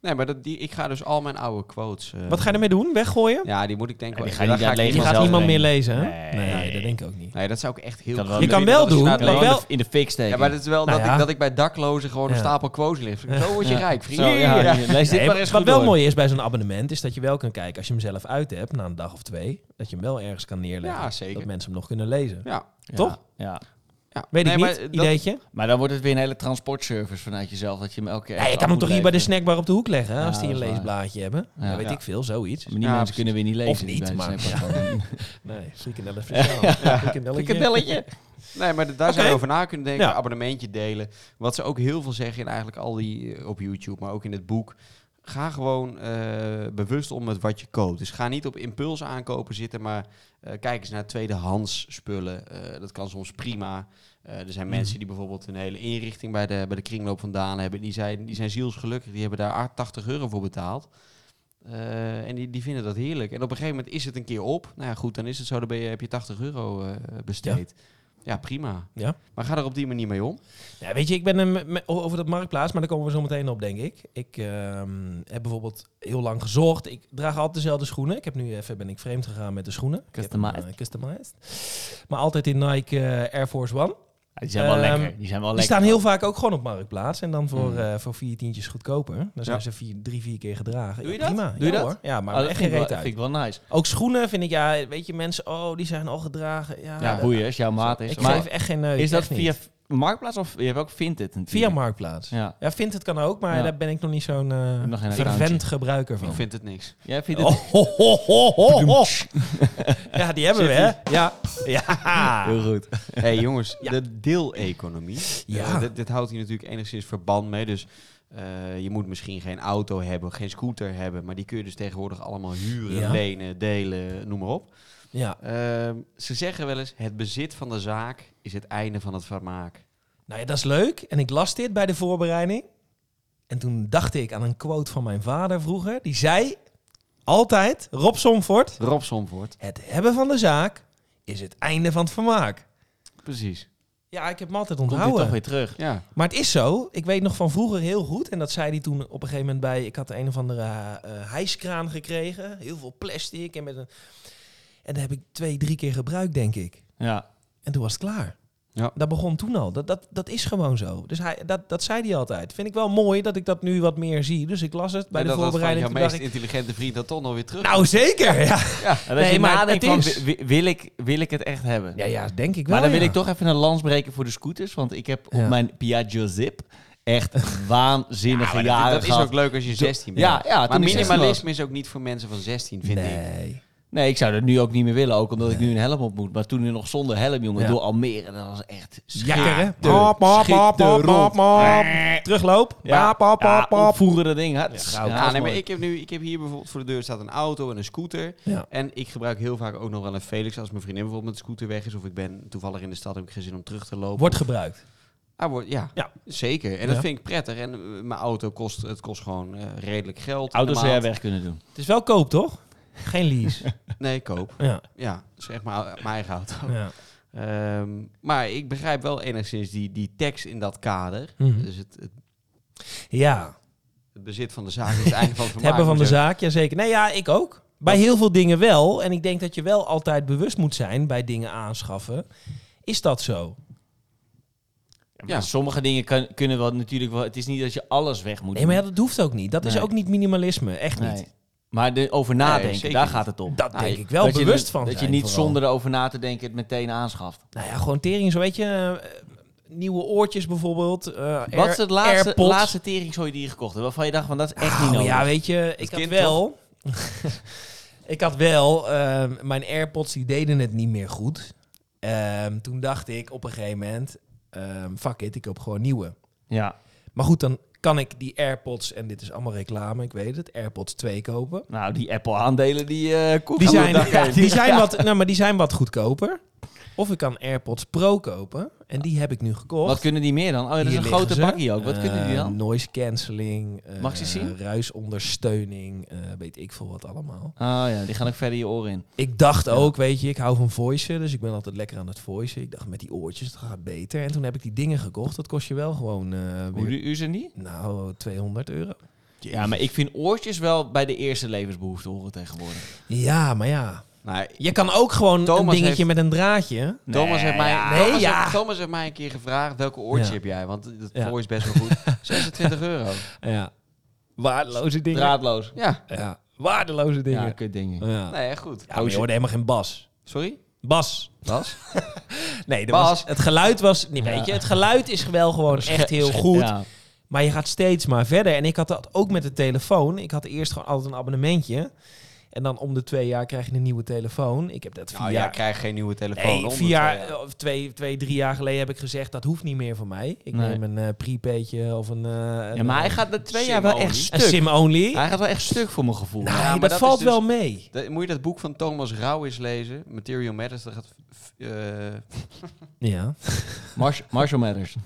Speaker 4: Nee, maar dat, die, ik ga dus al mijn oude quotes... eh,
Speaker 2: Wat ga je ermee doen? Weggooien?
Speaker 4: Ja, die moet ik denk ik
Speaker 3: Ja, die
Speaker 4: wel... ja,
Speaker 3: ga je
Speaker 4: daar
Speaker 3: niet
Speaker 2: je
Speaker 3: uitlezen
Speaker 4: ik niet-
Speaker 3: vanzelf.
Speaker 2: gaat niemand
Speaker 3: denken.
Speaker 2: meer lezen, hè?
Speaker 3: Nee.
Speaker 2: dat denk ik ook niet.
Speaker 4: Nee, dat zou ik echt heel...
Speaker 3: Kan
Speaker 4: graag-
Speaker 3: wel
Speaker 2: Je kan
Speaker 3: natuurlijk
Speaker 2: wel
Speaker 3: dat als
Speaker 2: doen,
Speaker 3: naar de
Speaker 2: maar
Speaker 3: krant
Speaker 2: wel-
Speaker 3: in de fik steken.
Speaker 4: Ja, maar het is wel
Speaker 2: Nou
Speaker 4: dat,
Speaker 2: ja.
Speaker 4: ik, dat ik bij daklozen gewoon
Speaker 2: Ja.
Speaker 4: een stapel quotes ligt. Zo word je rijk, vriend.
Speaker 3: Zo, ja,
Speaker 4: Ja.
Speaker 3: hier, lees dit
Speaker 2: Nee,
Speaker 3: maar eens
Speaker 2: wat
Speaker 3: goed
Speaker 2: wel
Speaker 3: door.
Speaker 2: mooi is bij zo'n abonnement, is dat je wel kan kijken als je hem zelf uit hebt, na een dag of twee, dat je hem wel ergens kan neerleggen.
Speaker 4: Ja, zeker.
Speaker 2: Dat mensen hem nog kunnen lezen.
Speaker 4: Ja.
Speaker 3: Ja,
Speaker 2: Toch?
Speaker 3: Ja.
Speaker 4: Ja.
Speaker 2: Weet
Speaker 4: Nee,
Speaker 2: ik
Speaker 4: maar
Speaker 2: niet,
Speaker 4: dat-
Speaker 2: ideetje.
Speaker 3: Maar dan wordt het weer een hele transportservice vanuit jezelf. Dat je hem elke keer.
Speaker 2: Nee, je
Speaker 3: ergens
Speaker 2: kan hem toch
Speaker 3: af moet
Speaker 2: hier bij de
Speaker 3: leveren.
Speaker 2: snackbar op de hoek leggen, hè,
Speaker 3: Ja,
Speaker 2: als die een
Speaker 3: dat is waar.
Speaker 2: leesblaadje hebben.
Speaker 3: Ja.
Speaker 2: Ja, weet
Speaker 4: Ja.
Speaker 2: ik veel, zoiets.
Speaker 3: Maar die
Speaker 4: Ja,
Speaker 3: mensen kunnen weer niet lezen.
Speaker 2: Of niet,
Speaker 3: bij de
Speaker 2: maar-
Speaker 3: snackbar.
Speaker 2: Nee, frikandellen speciaal. Frikandelletje.
Speaker 3: Frikandelletje.
Speaker 4: Nee, maar daar zou
Speaker 2: Oké.
Speaker 4: je over na kunnen denken.
Speaker 2: Ja.
Speaker 4: Abonnementje delen. Wat ze ook heel veel zeggen in eigenlijk al die eh, op YouTube, maar ook in het boek. Ga gewoon eh, bewust om met wat je koopt. Dus ga niet op impuls aankopen zitten, maar eh, kijk eens naar tweedehands spullen. Eh, dat kan soms prima. Eh, er zijn mensen die bijvoorbeeld een hele inrichting bij de, bij de kringloop vandaan hebben. Die zijn, die zijn zielsgelukkig, die hebben daar 80 euro voor betaald. Eh, en die, die vinden dat heerlijk. En op een gegeven moment is het een keer op. Nou ja, goed, dan is het zo. Dan ben je, heb je 80 euro eh, besteed. ja prima.
Speaker 2: Ja.
Speaker 4: Maar ga er op die manier mee om.
Speaker 2: Ja, weet je, ik ben hem me- o- over dat marktplaats, maar daar komen we zo meteen op, denk ik. Ik ehm, heb bijvoorbeeld heel lang gezocht. Ik draag altijd dezelfde schoenen. Ik heb nu even ben ik vreemd gegaan met de schoenen. Ik heb hem,
Speaker 3: Customized.
Speaker 2: eh, customized. Maar altijd in Nike eh, Air Force One.
Speaker 3: Ja, die zijn wel
Speaker 2: Ehm,
Speaker 3: lekker. Die zijn wel
Speaker 2: Die
Speaker 3: lekker.
Speaker 2: staan heel vaak ook gewoon op marktplaats en dan voor,
Speaker 3: Mm.
Speaker 2: eh, voor vier tientjes goedkoper. Dan zijn
Speaker 4: Ja.
Speaker 2: ze vier, drie, vier keer gedragen.
Speaker 3: Doe je
Speaker 2: Ja,
Speaker 3: dat?
Speaker 2: Prima.
Speaker 3: Doe
Speaker 2: Ja,
Speaker 3: je dat?
Speaker 2: Hoor. Ja, maar
Speaker 3: Oh, dat
Speaker 2: echt
Speaker 3: vind
Speaker 2: geen
Speaker 3: ik wel-
Speaker 2: reet
Speaker 3: vind
Speaker 2: uit.
Speaker 3: ik wel nice.
Speaker 2: Ook schoenen vind ik, ja, weet je, mensen, oh, die zijn al gedragen. Ja,
Speaker 3: Ja, boeien als jouw maat is.
Speaker 2: Ik
Speaker 3: Maar
Speaker 2: geef echt geen neuk.
Speaker 3: is dat
Speaker 2: echt niet.
Speaker 3: via Marktplaats of je hebt ook Vinted natuurlijk?
Speaker 2: Via marktplaats?
Speaker 3: Ja.
Speaker 2: Ja, vindt het kan ook, maar
Speaker 3: Ja.
Speaker 2: daar ben ik nog niet zo'n eh
Speaker 3: Nog geen
Speaker 2: vervent
Speaker 3: accountje.
Speaker 2: gebruiker van.
Speaker 4: Ik vind het niks.
Speaker 3: Jij vindt het
Speaker 2: Oh, ho, ho, ho, ho, ho. Ja, die hebben we, hè? Ja. Ja.
Speaker 3: heel goed.
Speaker 4: Hé hey, jongens, de deeleconomie.
Speaker 2: Ja.
Speaker 4: Eh, dit, dit houdt hier natuurlijk enigszins verband mee. Dus eh, je moet misschien geen auto hebben, geen scooter hebben. Maar die kun je dus tegenwoordig allemaal huren,
Speaker 2: Ja.
Speaker 4: lenen, delen, noem maar op.
Speaker 2: ja.
Speaker 4: Ehm, ze zeggen wel eens, het bezit van de zaak is het einde van het vermaak.
Speaker 2: Nou ja, dat is leuk. En ik las dit bij de voorbereiding. En toen dacht ik aan een quote van mijn vader vroeger. Die zei altijd, Rob Somfort,
Speaker 4: Rob Somvoort.
Speaker 2: het hebben van de zaak is het einde van het vermaak.
Speaker 4: Precies.
Speaker 2: Ja, ik heb hem altijd
Speaker 3: Komt hij
Speaker 2: onthouden.
Speaker 3: toch weer terug.
Speaker 4: Ja.
Speaker 2: Maar het is zo. Ik weet nog van vroeger heel goed. En dat zei hij toen op een gegeven moment bij... Ik had een of andere eh, eh, hijskraan gekregen. Heel veel plastic. En, met een, en dat heb ik twee, drie keer gebruikt, denk ik.
Speaker 3: Ja.
Speaker 2: En toen was het klaar.
Speaker 4: Ja.
Speaker 2: Dat begon toen al. Dat, dat, dat is gewoon zo. Dus hij, dat, dat zei hij altijd. Vind ik wel mooi dat ik dat nu wat meer zie. Dus ik las het bij
Speaker 4: En
Speaker 2: de
Speaker 4: dat was van
Speaker 2: voorbereiding.
Speaker 4: jouw
Speaker 2: Toen dacht
Speaker 4: meest
Speaker 2: ik,
Speaker 4: intelligente vriend dat toch nog weer terug.
Speaker 2: nou, zeker! Ja,
Speaker 3: En als
Speaker 2: Nee,
Speaker 3: je
Speaker 2: maar
Speaker 3: nadenkt
Speaker 2: het
Speaker 3: van,
Speaker 2: is-
Speaker 3: wi- wi- wil ik, wil ik het echt hebben?
Speaker 2: ja, ja denk ik wel.
Speaker 3: Maar dan wil
Speaker 2: ja.
Speaker 3: ik toch even een lans breken voor de scooters. Want ik heb op
Speaker 2: Ja.
Speaker 3: mijn Piaggio Zip echt waanzinnige
Speaker 2: Nou,
Speaker 4: maar dat-
Speaker 3: jaren
Speaker 4: dat is
Speaker 3: gehad.
Speaker 4: ook leuk als je 16 bent.
Speaker 3: ja, ja,
Speaker 4: maar
Speaker 3: toen ik 16
Speaker 4: minimalisme is ook niet voor mensen van 16, vind ik.
Speaker 2: Nee.
Speaker 3: Nee, ik zou dat nu ook niet meer willen. Ook omdat ik nu een helm op moet. Maar toen nog zonder helm, jongen,
Speaker 2: Ja.
Speaker 3: door Almere. Dat was echt
Speaker 2: Jakker, hè?
Speaker 3: Pap, pap, pap, pap, pap,
Speaker 2: Terugloop.
Speaker 3: Ja.
Speaker 2: Pap, pap, pap, pap.
Speaker 3: opvoeren dat ding. hè.
Speaker 2: goud.
Speaker 4: Ja,
Speaker 3: dat is
Speaker 4: nee, maar
Speaker 3: mooi.
Speaker 4: ik heb, nu, ik heb hier bijvoorbeeld voor de deur staat een auto en een scooter.
Speaker 2: Ja.
Speaker 4: En ik gebruik heel vaak ook nog wel een Felix als mijn vriendin bijvoorbeeld met de scooter weg is. Of ik ben toevallig in de stad, heb ik geen zin om terug te lopen.
Speaker 2: Wordt gebruikt.
Speaker 4: Ah, wordt ja,
Speaker 2: Ja.
Speaker 4: zeker. En dat
Speaker 2: Ja.
Speaker 4: vind ik prettig. En eh, mijn auto kost, het kost gewoon eh, redelijk geld.
Speaker 3: Auto's zou
Speaker 4: per
Speaker 3: jij
Speaker 4: maand.
Speaker 3: weg kunnen doen.
Speaker 2: Het is wel koop, toch? Geen lease.
Speaker 4: Nee, koop.
Speaker 2: ja.
Speaker 4: Ja, dus echt mijn, mijn eigen auto.
Speaker 2: ja.
Speaker 4: Ehm, maar ik begrijp wel enigszins die, die tekst in dat kader.
Speaker 2: Mhm.
Speaker 4: Dus het, het,
Speaker 2: ja.
Speaker 4: het bezit van de zaak is het einde van het
Speaker 2: Het
Speaker 4: vermaak.
Speaker 2: hebben van de
Speaker 4: moet je
Speaker 2: zaak, jazeker. Nee, ja, ik ook. Bij heel veel dingen wel. En ik denk dat je wel altijd bewust moet zijn bij dingen aanschaffen. Is dat zo?
Speaker 4: maar Ja.
Speaker 3: Sommige dingen kan, kunnen wel natuurlijk wel... Het is niet dat je alles weg moet
Speaker 2: Nee, maar ja,
Speaker 3: doen.
Speaker 2: dat hoeft ook niet. Dat is
Speaker 3: Nee.
Speaker 2: ook niet minimalisme. Echt niet.
Speaker 3: Nee. Maar de, over nadenken,
Speaker 4: zeker
Speaker 3: daar
Speaker 4: niet.
Speaker 3: gaat het om.
Speaker 2: Dat
Speaker 4: Nou,
Speaker 2: denk
Speaker 4: je-
Speaker 2: ik wel
Speaker 3: dat
Speaker 2: bewust
Speaker 3: je,
Speaker 2: van
Speaker 3: Dat je
Speaker 2: zijn
Speaker 3: niet
Speaker 2: vooral.
Speaker 3: zonder erover na te denken het meteen aanschaft.
Speaker 2: Nou ja, gewoon tering. Zo weet je, eh, nieuwe oortjes bijvoorbeeld. eh,
Speaker 3: Wat
Speaker 2: Air-
Speaker 3: is het laatste,
Speaker 2: AirPods.
Speaker 3: laatste teringzooi die je gekocht hebt? Waarvan je dacht van, dat is echt
Speaker 2: Nou,
Speaker 3: niet nodig.
Speaker 2: Ja, weet je, ik had
Speaker 4: kind
Speaker 2: wel... ik had wel... ehm, mijn AirPods, die deden het niet meer goed. Ehm, toen dacht ik op een gegeven moment... ehm, fuck it, ik koop gewoon nieuwe.
Speaker 3: ja.
Speaker 2: Maar goed, dan kan ik die AirPods... En dit is allemaal reclame, ik weet het. AirPods 2 kopen.
Speaker 3: Nou, die Apple-aandelen, die eh koeken
Speaker 2: Die
Speaker 3: we
Speaker 2: zijn,
Speaker 3: dag heen.
Speaker 2: ja, die zijn wat, nou, maar die zijn wat goedkoper. Of ik kan AirPods Pro kopen. En die heb ik nu gekocht.
Speaker 3: Wat kunnen die meer dan? Oh, ja, dat is
Speaker 2: Hier
Speaker 3: een
Speaker 2: liggen
Speaker 3: grote
Speaker 2: ze.
Speaker 3: bakkie ook. Wat kunnen die
Speaker 2: Eh,
Speaker 3: dan?
Speaker 2: Noise cancelling. eh,
Speaker 3: Mag ik ze zien?
Speaker 2: Ruisondersteuning. eh, weet ik veel wat allemaal.
Speaker 3: Oh ja, die gaan ook verder je oren in.
Speaker 2: Ik dacht ook, weet je, ik hou van voicen. Dus ik ben altijd lekker aan het voicen. Ik dacht, met die oortjes, dat gaat beter. En toen heb ik die dingen gekocht. Dat kost je wel gewoon... eh,
Speaker 3: Hoe
Speaker 2: weer-
Speaker 3: duur zijn die?
Speaker 2: nou, 200 euro.
Speaker 4: zeggen.
Speaker 3: Ja, maar ik vind oortjes wel bij de eerste levensbehoefte horen tegenwoordig.
Speaker 2: Ja, maar ja.
Speaker 4: Nou,
Speaker 2: Je kan ook gewoon een
Speaker 4: Thomas
Speaker 2: dingetje
Speaker 4: heeft-
Speaker 2: met een draadje.
Speaker 4: Thomas, heeft mij,
Speaker 2: ja.
Speaker 4: Thomas,
Speaker 2: Nee, ja.
Speaker 4: heeft, Thomas heeft mij een keer gevraagd welke oortje
Speaker 2: Ja.
Speaker 4: heb jij? Want dat
Speaker 2: Ja.
Speaker 4: voor is best wel goed. 26 euro.
Speaker 2: Ja. Waardeloze dingen.
Speaker 3: Draadloos.
Speaker 4: Ja,
Speaker 2: Ja. Waardeloze
Speaker 3: Ja,
Speaker 2: dingen.
Speaker 3: kut dingen.
Speaker 2: Ja, ja.
Speaker 4: nee, echt goed.
Speaker 2: maar je hoorde helemaal geen bas.
Speaker 4: Sorry?
Speaker 2: Bas.
Speaker 4: Bas?
Speaker 2: Nee, er
Speaker 4: Bas.
Speaker 2: Was, het geluid was... Nee,
Speaker 3: Ja.
Speaker 2: weet je, het geluid is wel gewoon echt heel goed.
Speaker 3: Ja.
Speaker 2: Maar je gaat steeds maar verder. En ik had dat ook met de telefoon. Ik had eerst gewoon altijd een abonnementje. En dan om de twee jaar krijg je een nieuwe telefoon. Ik heb dat vier
Speaker 4: Nou ja,
Speaker 2: jaar...
Speaker 4: ik krijg geen nieuwe telefoon.
Speaker 2: Nee,
Speaker 4: Honderd,
Speaker 2: vier jaar,
Speaker 4: eh,
Speaker 2: of twee, twee, drie jaar geleden heb ik gezegd... dat hoeft niet meer voor mij. Ik
Speaker 3: Nee.
Speaker 2: neem een eh prepaidje of een... eh, een
Speaker 3: Ja, maar hij gaat de twee jaar wel
Speaker 4: Sim-only.
Speaker 3: echt
Speaker 2: een
Speaker 3: stuk.
Speaker 2: sim-only.
Speaker 3: Hij gaat wel echt stuk voor mijn gevoel.
Speaker 2: Nee,
Speaker 4: Ja, maar
Speaker 2: Nou, dat,
Speaker 4: dat is
Speaker 2: valt
Speaker 4: dus-
Speaker 2: wel mee.
Speaker 4: dat- moet je dat boek van Thomas Rauw eens lezen? Material Matters. Dat gaat f- eh, nee,
Speaker 2: Ja.
Speaker 3: Mars- Marshall Matters.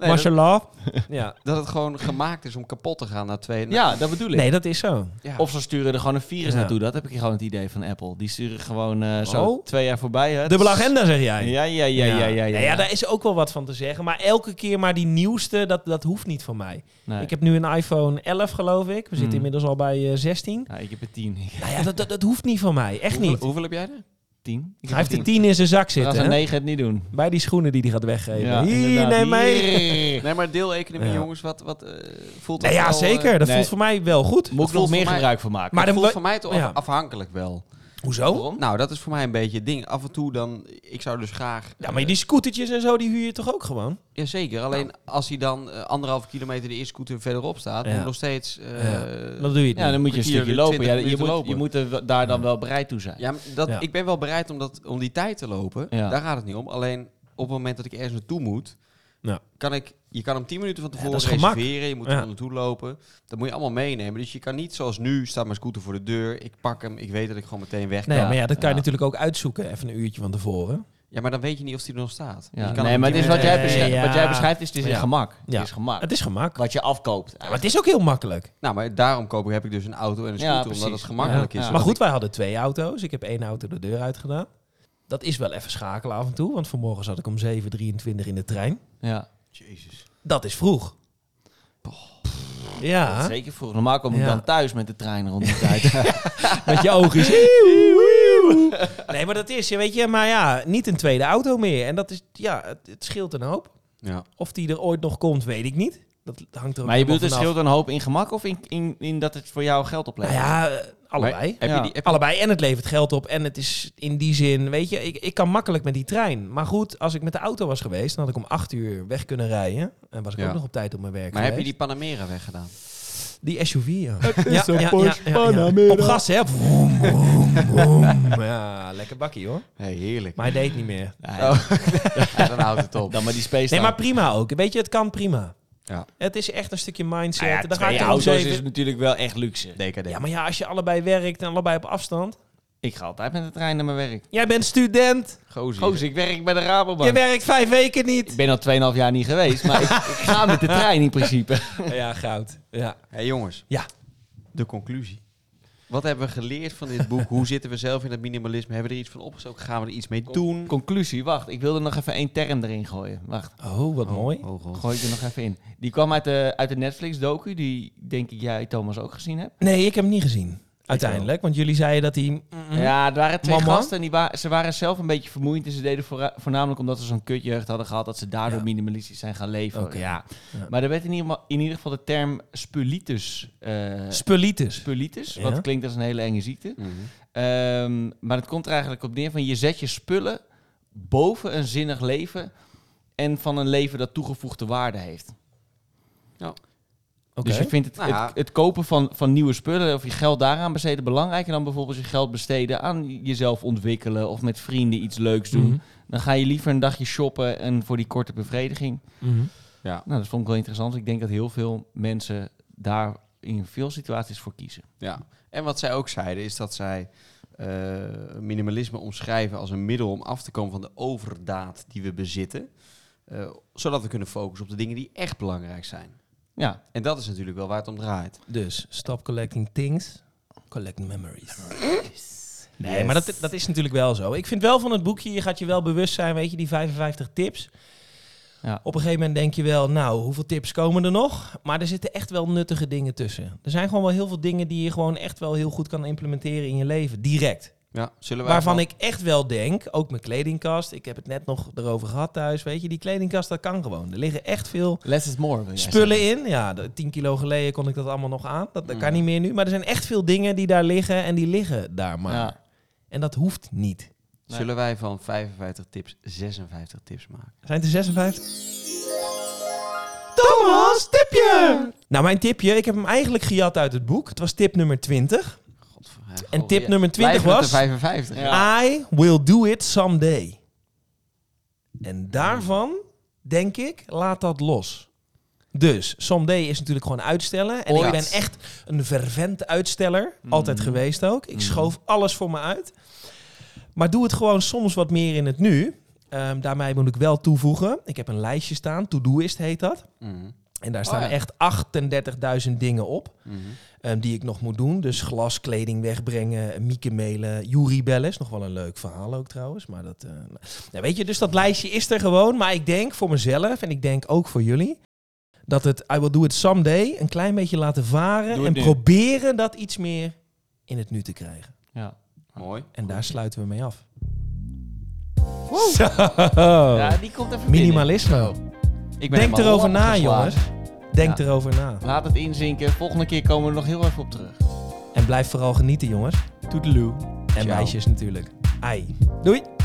Speaker 2: Martial law. ja.
Speaker 4: dat, dat het gewoon gemaakt is om kapot te gaan na twee...
Speaker 3: Ja, dat bedoel ik.
Speaker 2: Nee, dat is zo.
Speaker 4: Ja.
Speaker 3: Of ze sturen er gewoon een virus
Speaker 2: Ja.
Speaker 3: naartoe. Dat heb ik gewoon het idee van Apple. Die sturen gewoon eh, zo
Speaker 2: Oh.
Speaker 3: twee jaar voorbij. Hè.
Speaker 2: Dubbele agenda, zeg jij.
Speaker 3: Ja, ja, ja, ja, ja. ja, ja.
Speaker 2: Nou ja, daar is ook wel wat van te zeggen. Maar elke keer maar die nieuwste, dat, dat hoeft niet van mij.
Speaker 3: Nee.
Speaker 2: Ik heb nu een iPhone 11, geloof ik. We zitten
Speaker 3: Mm.
Speaker 2: inmiddels al bij eh, 16.
Speaker 3: Ja, ik heb er tien. Ik heb
Speaker 2: Nou ja, dat, dat, dat hoeft niet van mij. Echt
Speaker 4: hoeveel,
Speaker 2: niet.
Speaker 4: hoeveel heb jij er?
Speaker 3: tien. Ik
Speaker 2: Hij heeft de 10 in zijn zak
Speaker 3: Als een
Speaker 2: zitten. hè?
Speaker 3: negen het niet doen.
Speaker 2: Bij die schoenen die hij gaat weggeven.
Speaker 3: Ja,
Speaker 2: Hier,
Speaker 3: inderdaad.
Speaker 2: neem mee.
Speaker 3: Hier.
Speaker 4: Nee, maar deeleconomie,
Speaker 2: Ja.
Speaker 4: jongens, wat, wat eh, voelt dat
Speaker 2: Nou ja,
Speaker 4: wel, eh,
Speaker 2: zeker. Dat
Speaker 3: nee.
Speaker 2: voelt voor mij wel goed.
Speaker 3: Moet ik
Speaker 4: voelt
Speaker 3: nog
Speaker 4: voor
Speaker 3: meer
Speaker 4: mij-
Speaker 3: gebruik van maken.
Speaker 2: Maar
Speaker 4: dat
Speaker 2: dan
Speaker 4: voelt
Speaker 2: wa-
Speaker 4: voor mij toch
Speaker 2: ja. Oh?
Speaker 4: afhankelijk wel.
Speaker 2: Hoezo?
Speaker 3: Waarom?
Speaker 4: Nou, dat is voor mij een beetje het ding. Af en toe dan, ik zou dus graag...
Speaker 2: Ja, maar die scootertjes en zo, die huur je toch ook gewoon?
Speaker 4: Jazeker, alleen
Speaker 3: Nou.
Speaker 4: als hij dan eh, anderhalve kilometer de eerste scooter verderop staat,
Speaker 2: Ja.
Speaker 4: moet nog steeds... eh,
Speaker 2: Dat doe je
Speaker 3: Ja,
Speaker 2: niet.
Speaker 3: dan moet je een
Speaker 4: Kwartier,
Speaker 3: stukje lopen. Ja,
Speaker 4: 20
Speaker 3: je, moet,
Speaker 4: minuten
Speaker 3: je moet er wel- daar dan wel bereid toe zijn.
Speaker 4: Ja, maar dat,
Speaker 2: Ja.
Speaker 4: ik ben wel bereid om, dat, om die tijd te lopen.
Speaker 3: Ja.
Speaker 4: Daar gaat het niet om. Alleen op het moment dat ik ergens naartoe moet,
Speaker 2: Ja.
Speaker 4: kan ik, je kan hem 10 minuten van tevoren
Speaker 2: dat is gemak.
Speaker 4: reserveren. Je moet
Speaker 2: Ja.
Speaker 4: er er naartoe lopen. Dat moet je allemaal meenemen. Dus je kan niet zoals nu, staat mijn scooter voor de deur. Ik pak hem, ik weet dat ik gewoon meteen weg kan.
Speaker 2: Nee, maar ja, dat kan je
Speaker 3: Ja.
Speaker 2: natuurlijk ook uitzoeken. Even een uurtje van tevoren.
Speaker 4: Ja, maar dan weet je niet of die er nog staat. Dus je kan
Speaker 3: Nee,
Speaker 4: hem
Speaker 3: maar het
Speaker 4: tien
Speaker 3: is
Speaker 4: minuten-
Speaker 3: wat jij,
Speaker 2: Nee,
Speaker 3: beschrijft,
Speaker 2: ja.
Speaker 3: wat jij beschrijft is, het is een
Speaker 2: Ja.
Speaker 3: gemak.
Speaker 2: Ja.
Speaker 3: Het is gemak.
Speaker 2: Het is gemak.
Speaker 3: Wat je afkoopt.
Speaker 2: Ja, maar het is ook heel makkelijk.
Speaker 4: Nou, maar daarom koop ik, heb ik dus een auto en
Speaker 3: Ja,
Speaker 4: een scooter, omdat
Speaker 3: precies.
Speaker 4: het gemakkelijk
Speaker 3: Ja.
Speaker 4: is.
Speaker 2: Maar
Speaker 3: Ja.
Speaker 4: Omdat
Speaker 2: goed, wij hadden twee auto's. Ik heb één auto de deur uit gedaan. Dat is wel even schakelen af en toe, want vanmorgen zat ik om 7.23 in de trein.
Speaker 3: Ja.
Speaker 4: Jezus.
Speaker 2: Dat is vroeg. Ja,
Speaker 3: Zeker vroeg. Normaal kom ik
Speaker 2: Ja.
Speaker 3: dan thuis met de trein rond die tijd.
Speaker 2: met je oogjes. Eeuw, eeuw. Nee, maar dat is, je weet je, maar ja, niet een tweede auto meer. En dat is, ja, het, het scheelt een hoop.
Speaker 4: Ja.
Speaker 2: Of die er ooit nog komt, weet ik niet. Dat hangt er ook
Speaker 3: maar
Speaker 2: helemaal
Speaker 3: je bedoelt het
Speaker 2: vanaf.
Speaker 3: scheelt een hoop in gemak of in, in, in dat het voor jou geld
Speaker 2: Nou
Speaker 3: oplevert?
Speaker 2: ja, eh, allebei.
Speaker 4: Heb
Speaker 3: Ja.
Speaker 4: je die, heb je-
Speaker 2: Allebei. En het levert geld op. En het is in die zin, weet je, ik, ik kan makkelijk met die trein. Maar goed, als ik met de auto was geweest, dan had ik om acht uur weg kunnen rijden. En was ik
Speaker 4: Ja.
Speaker 2: ook nog op tijd op mijn werk
Speaker 4: maar heb je
Speaker 2: geweest.
Speaker 4: die Panamera weggedaan?
Speaker 2: die SUV, ja.
Speaker 1: is een Porsche Panamera.
Speaker 2: Op gas, hè. Vroom, vroom, vroom. Ja, lekker bakkie, hoor.
Speaker 4: Hey, heerlijk.
Speaker 2: Maar hij deed niet meer.
Speaker 4: Ja, dan houdt het op.
Speaker 3: Dan maar die space
Speaker 2: Nee, maar prima ook. Weet je, het kan prima.
Speaker 4: Ja. Nou
Speaker 2: Het is echt een stukje mindset.
Speaker 3: ja,
Speaker 2: dan ga ik
Speaker 3: twee
Speaker 2: er om
Speaker 3: auto's
Speaker 2: zeven-
Speaker 3: is natuurlijk wel echt luxe.
Speaker 4: DKD.
Speaker 2: Ja, maar ja, als je allebei werkt en allebei op afstand.
Speaker 3: Ik ga altijd met de trein naar mijn werk.
Speaker 2: Jij bent student.
Speaker 4: Gozer.
Speaker 3: Goos, ik werk bij de Rabobank.
Speaker 2: Je werkt vijf weken niet.
Speaker 3: Ik ben al 2,5 jaar niet geweest, maar ik, ik ga met de trein in principe.
Speaker 2: Ja, goud. Ja.
Speaker 4: Hey, jongens.
Speaker 2: Ja.
Speaker 4: De conclusie. Wat hebben we geleerd van dit boek? Hoe zitten we zelf in het minimalisme? Hebben we er iets van opgestoken? Gaan we er iets mee doen?
Speaker 3: Conclusie, wacht, ik wilde nog even één term erin gooien. Wacht,
Speaker 2: Oh, wat mooi.
Speaker 4: Oh, god.
Speaker 3: gooi ik er nog even in. Die kwam uit de, uit de Netflix-docu, die denk ik jij Thomas ook gezien hebt.
Speaker 2: Nee, ik heb hem niet gezien. Uiteindelijk, want jullie zeiden dat hij... Mm-mm.
Speaker 3: Mhm. Ja, er waren twee
Speaker 2: Mama?
Speaker 3: gasten en die wa- ze waren zelf een beetje vermoeiend. En ze deden voorra- voornamelijk omdat ze zo'n kutjeugd hadden gehad... dat ze daardoor
Speaker 2: Ja.
Speaker 3: minimalistisch zijn gaan leven.
Speaker 2: Oké.
Speaker 3: Ja.
Speaker 2: Oh, Ja.
Speaker 3: Maar er werd in ieder, geval- in ieder geval de term spulitis... eh
Speaker 2: Spulitis.
Speaker 3: spulitis,
Speaker 2: Ja.
Speaker 3: wat klinkt als een hele enge ziekte.
Speaker 4: Mhm.
Speaker 3: Ehm, maar het komt er eigenlijk op neer van je zet je spullen boven een zinnig leven... en van een leven dat toegevoegde waarde heeft.
Speaker 2: Oké. Mhm.
Speaker 3: Dus je vindt het,
Speaker 4: Nou ja.
Speaker 3: het, het kopen van, van nieuwe spullen of je geld daaraan besteden belangrijker dan bijvoorbeeld je geld besteden aan jezelf ontwikkelen of met vrienden iets leuks doen.
Speaker 2: Mhm.
Speaker 3: Dan ga je liever een dagje shoppen en voor die korte bevrediging.
Speaker 2: Mhm.
Speaker 3: Nou, dat vond ik wel interessant. Ik denk dat heel veel mensen daar in veel situaties voor kiezen.
Speaker 4: Ja, en wat zij ook zeiden is dat zij eh, minimalisme omschrijven als een middel om af te komen van de overdaad die we bezitten. eh, zodat we kunnen focussen op de dingen die echt belangrijk zijn.
Speaker 3: Ja,
Speaker 4: En dat is natuurlijk wel waar het om draait.
Speaker 2: Dus, stop collecting things, collect memories. Nee, maar dat, dat is natuurlijk wel zo. Ik vind wel van het boekje, je gaat je wel bewust zijn, weet je, die 55 tips.
Speaker 3: Ja.
Speaker 2: Op een gegeven moment denk je wel, nou, hoeveel tips komen er nog? Maar er zitten echt wel nuttige dingen tussen. Er zijn gewoon wel heel veel dingen die je gewoon echt wel heel goed kan implementeren in je leven, direct.
Speaker 4: Ja, zullen wij
Speaker 2: Waarvan
Speaker 4: gewoon-
Speaker 2: ik echt wel denk, ook mijn kledingkast. Ik heb het net nog erover gehad thuis, weet je. Die kledingkast, dat kan gewoon. Er liggen echt veel
Speaker 3: less is more. wil jij
Speaker 2: spullen in. Ja, de- tien kilo geleden kon ik dat allemaal nog aan. Dat, dat
Speaker 3: Mm.
Speaker 2: kan niet meer nu. Maar er zijn echt veel dingen die daar liggen en die liggen daar maar.
Speaker 3: zeggen. Ja.
Speaker 2: En dat hoeft niet.
Speaker 3: Nee.
Speaker 4: zullen wij van 55 tips 56 tips maken?
Speaker 2: Zijn het er 56? Thomas, tipje! Nou, mijn tipje, ik heb hem eigenlijk gejat uit het boek. Het was tip nummer 20.
Speaker 4: Godver-
Speaker 2: En
Speaker 4: Goh,
Speaker 2: tip
Speaker 4: ja.
Speaker 2: nummer 20
Speaker 4: Blijven
Speaker 2: was...
Speaker 4: het de 55. Ja.
Speaker 2: I will do it someday.
Speaker 4: Hmm.
Speaker 2: En daarvan denk ik, laat dat los. Dus someday is natuurlijk gewoon uitstellen. En ik
Speaker 4: Ooit. Hmm.
Speaker 2: ben echt een vervent uitsteller. Altijd geweest ook. Ik schoof alles voor me uit. Maar doe het gewoon soms wat meer in het nu. Ehm, daarmee moet ik wel toevoegen. Ik heb een lijstje staan. To-doist heet dat.
Speaker 4: Mhm,
Speaker 2: En daar
Speaker 4: Oh
Speaker 2: staan
Speaker 4: ja.
Speaker 2: echt 38.000 dingen op.
Speaker 4: mhm.
Speaker 2: Ehm, die ik nog moet doen. Dus glas, kleding wegbrengen, Mieke mailen, Jury bellen. Is nog wel een leuk verhaal ook trouwens. Maar dat, eh, nou, weet je, dus dat lijstje is er gewoon. Maar ik denk voor mezelf en ik denk ook voor jullie... dat het I will do it someday een klein beetje laten varen...
Speaker 3: Doe het
Speaker 2: en
Speaker 3: nu.
Speaker 2: proberen dat iets meer in het nu te krijgen.
Speaker 3: Ja.
Speaker 4: Mooi.
Speaker 2: En daar sluiten we mee af.
Speaker 3: ja, die komt even
Speaker 2: Minimalisme.
Speaker 4: Ik ben
Speaker 2: Oh. Denk
Speaker 4: helemaal
Speaker 2: erover
Speaker 4: op-
Speaker 2: na, jongens. Denk
Speaker 3: Ja.
Speaker 2: erover na.
Speaker 3: binnen. Laat het inzinken. Volgende keer komen we er nog heel even op terug.
Speaker 2: En blijf vooral genieten, jongens.
Speaker 3: Toedeloe.
Speaker 2: En
Speaker 4: Ciao.
Speaker 2: meisjes natuurlijk. Ai. Doei.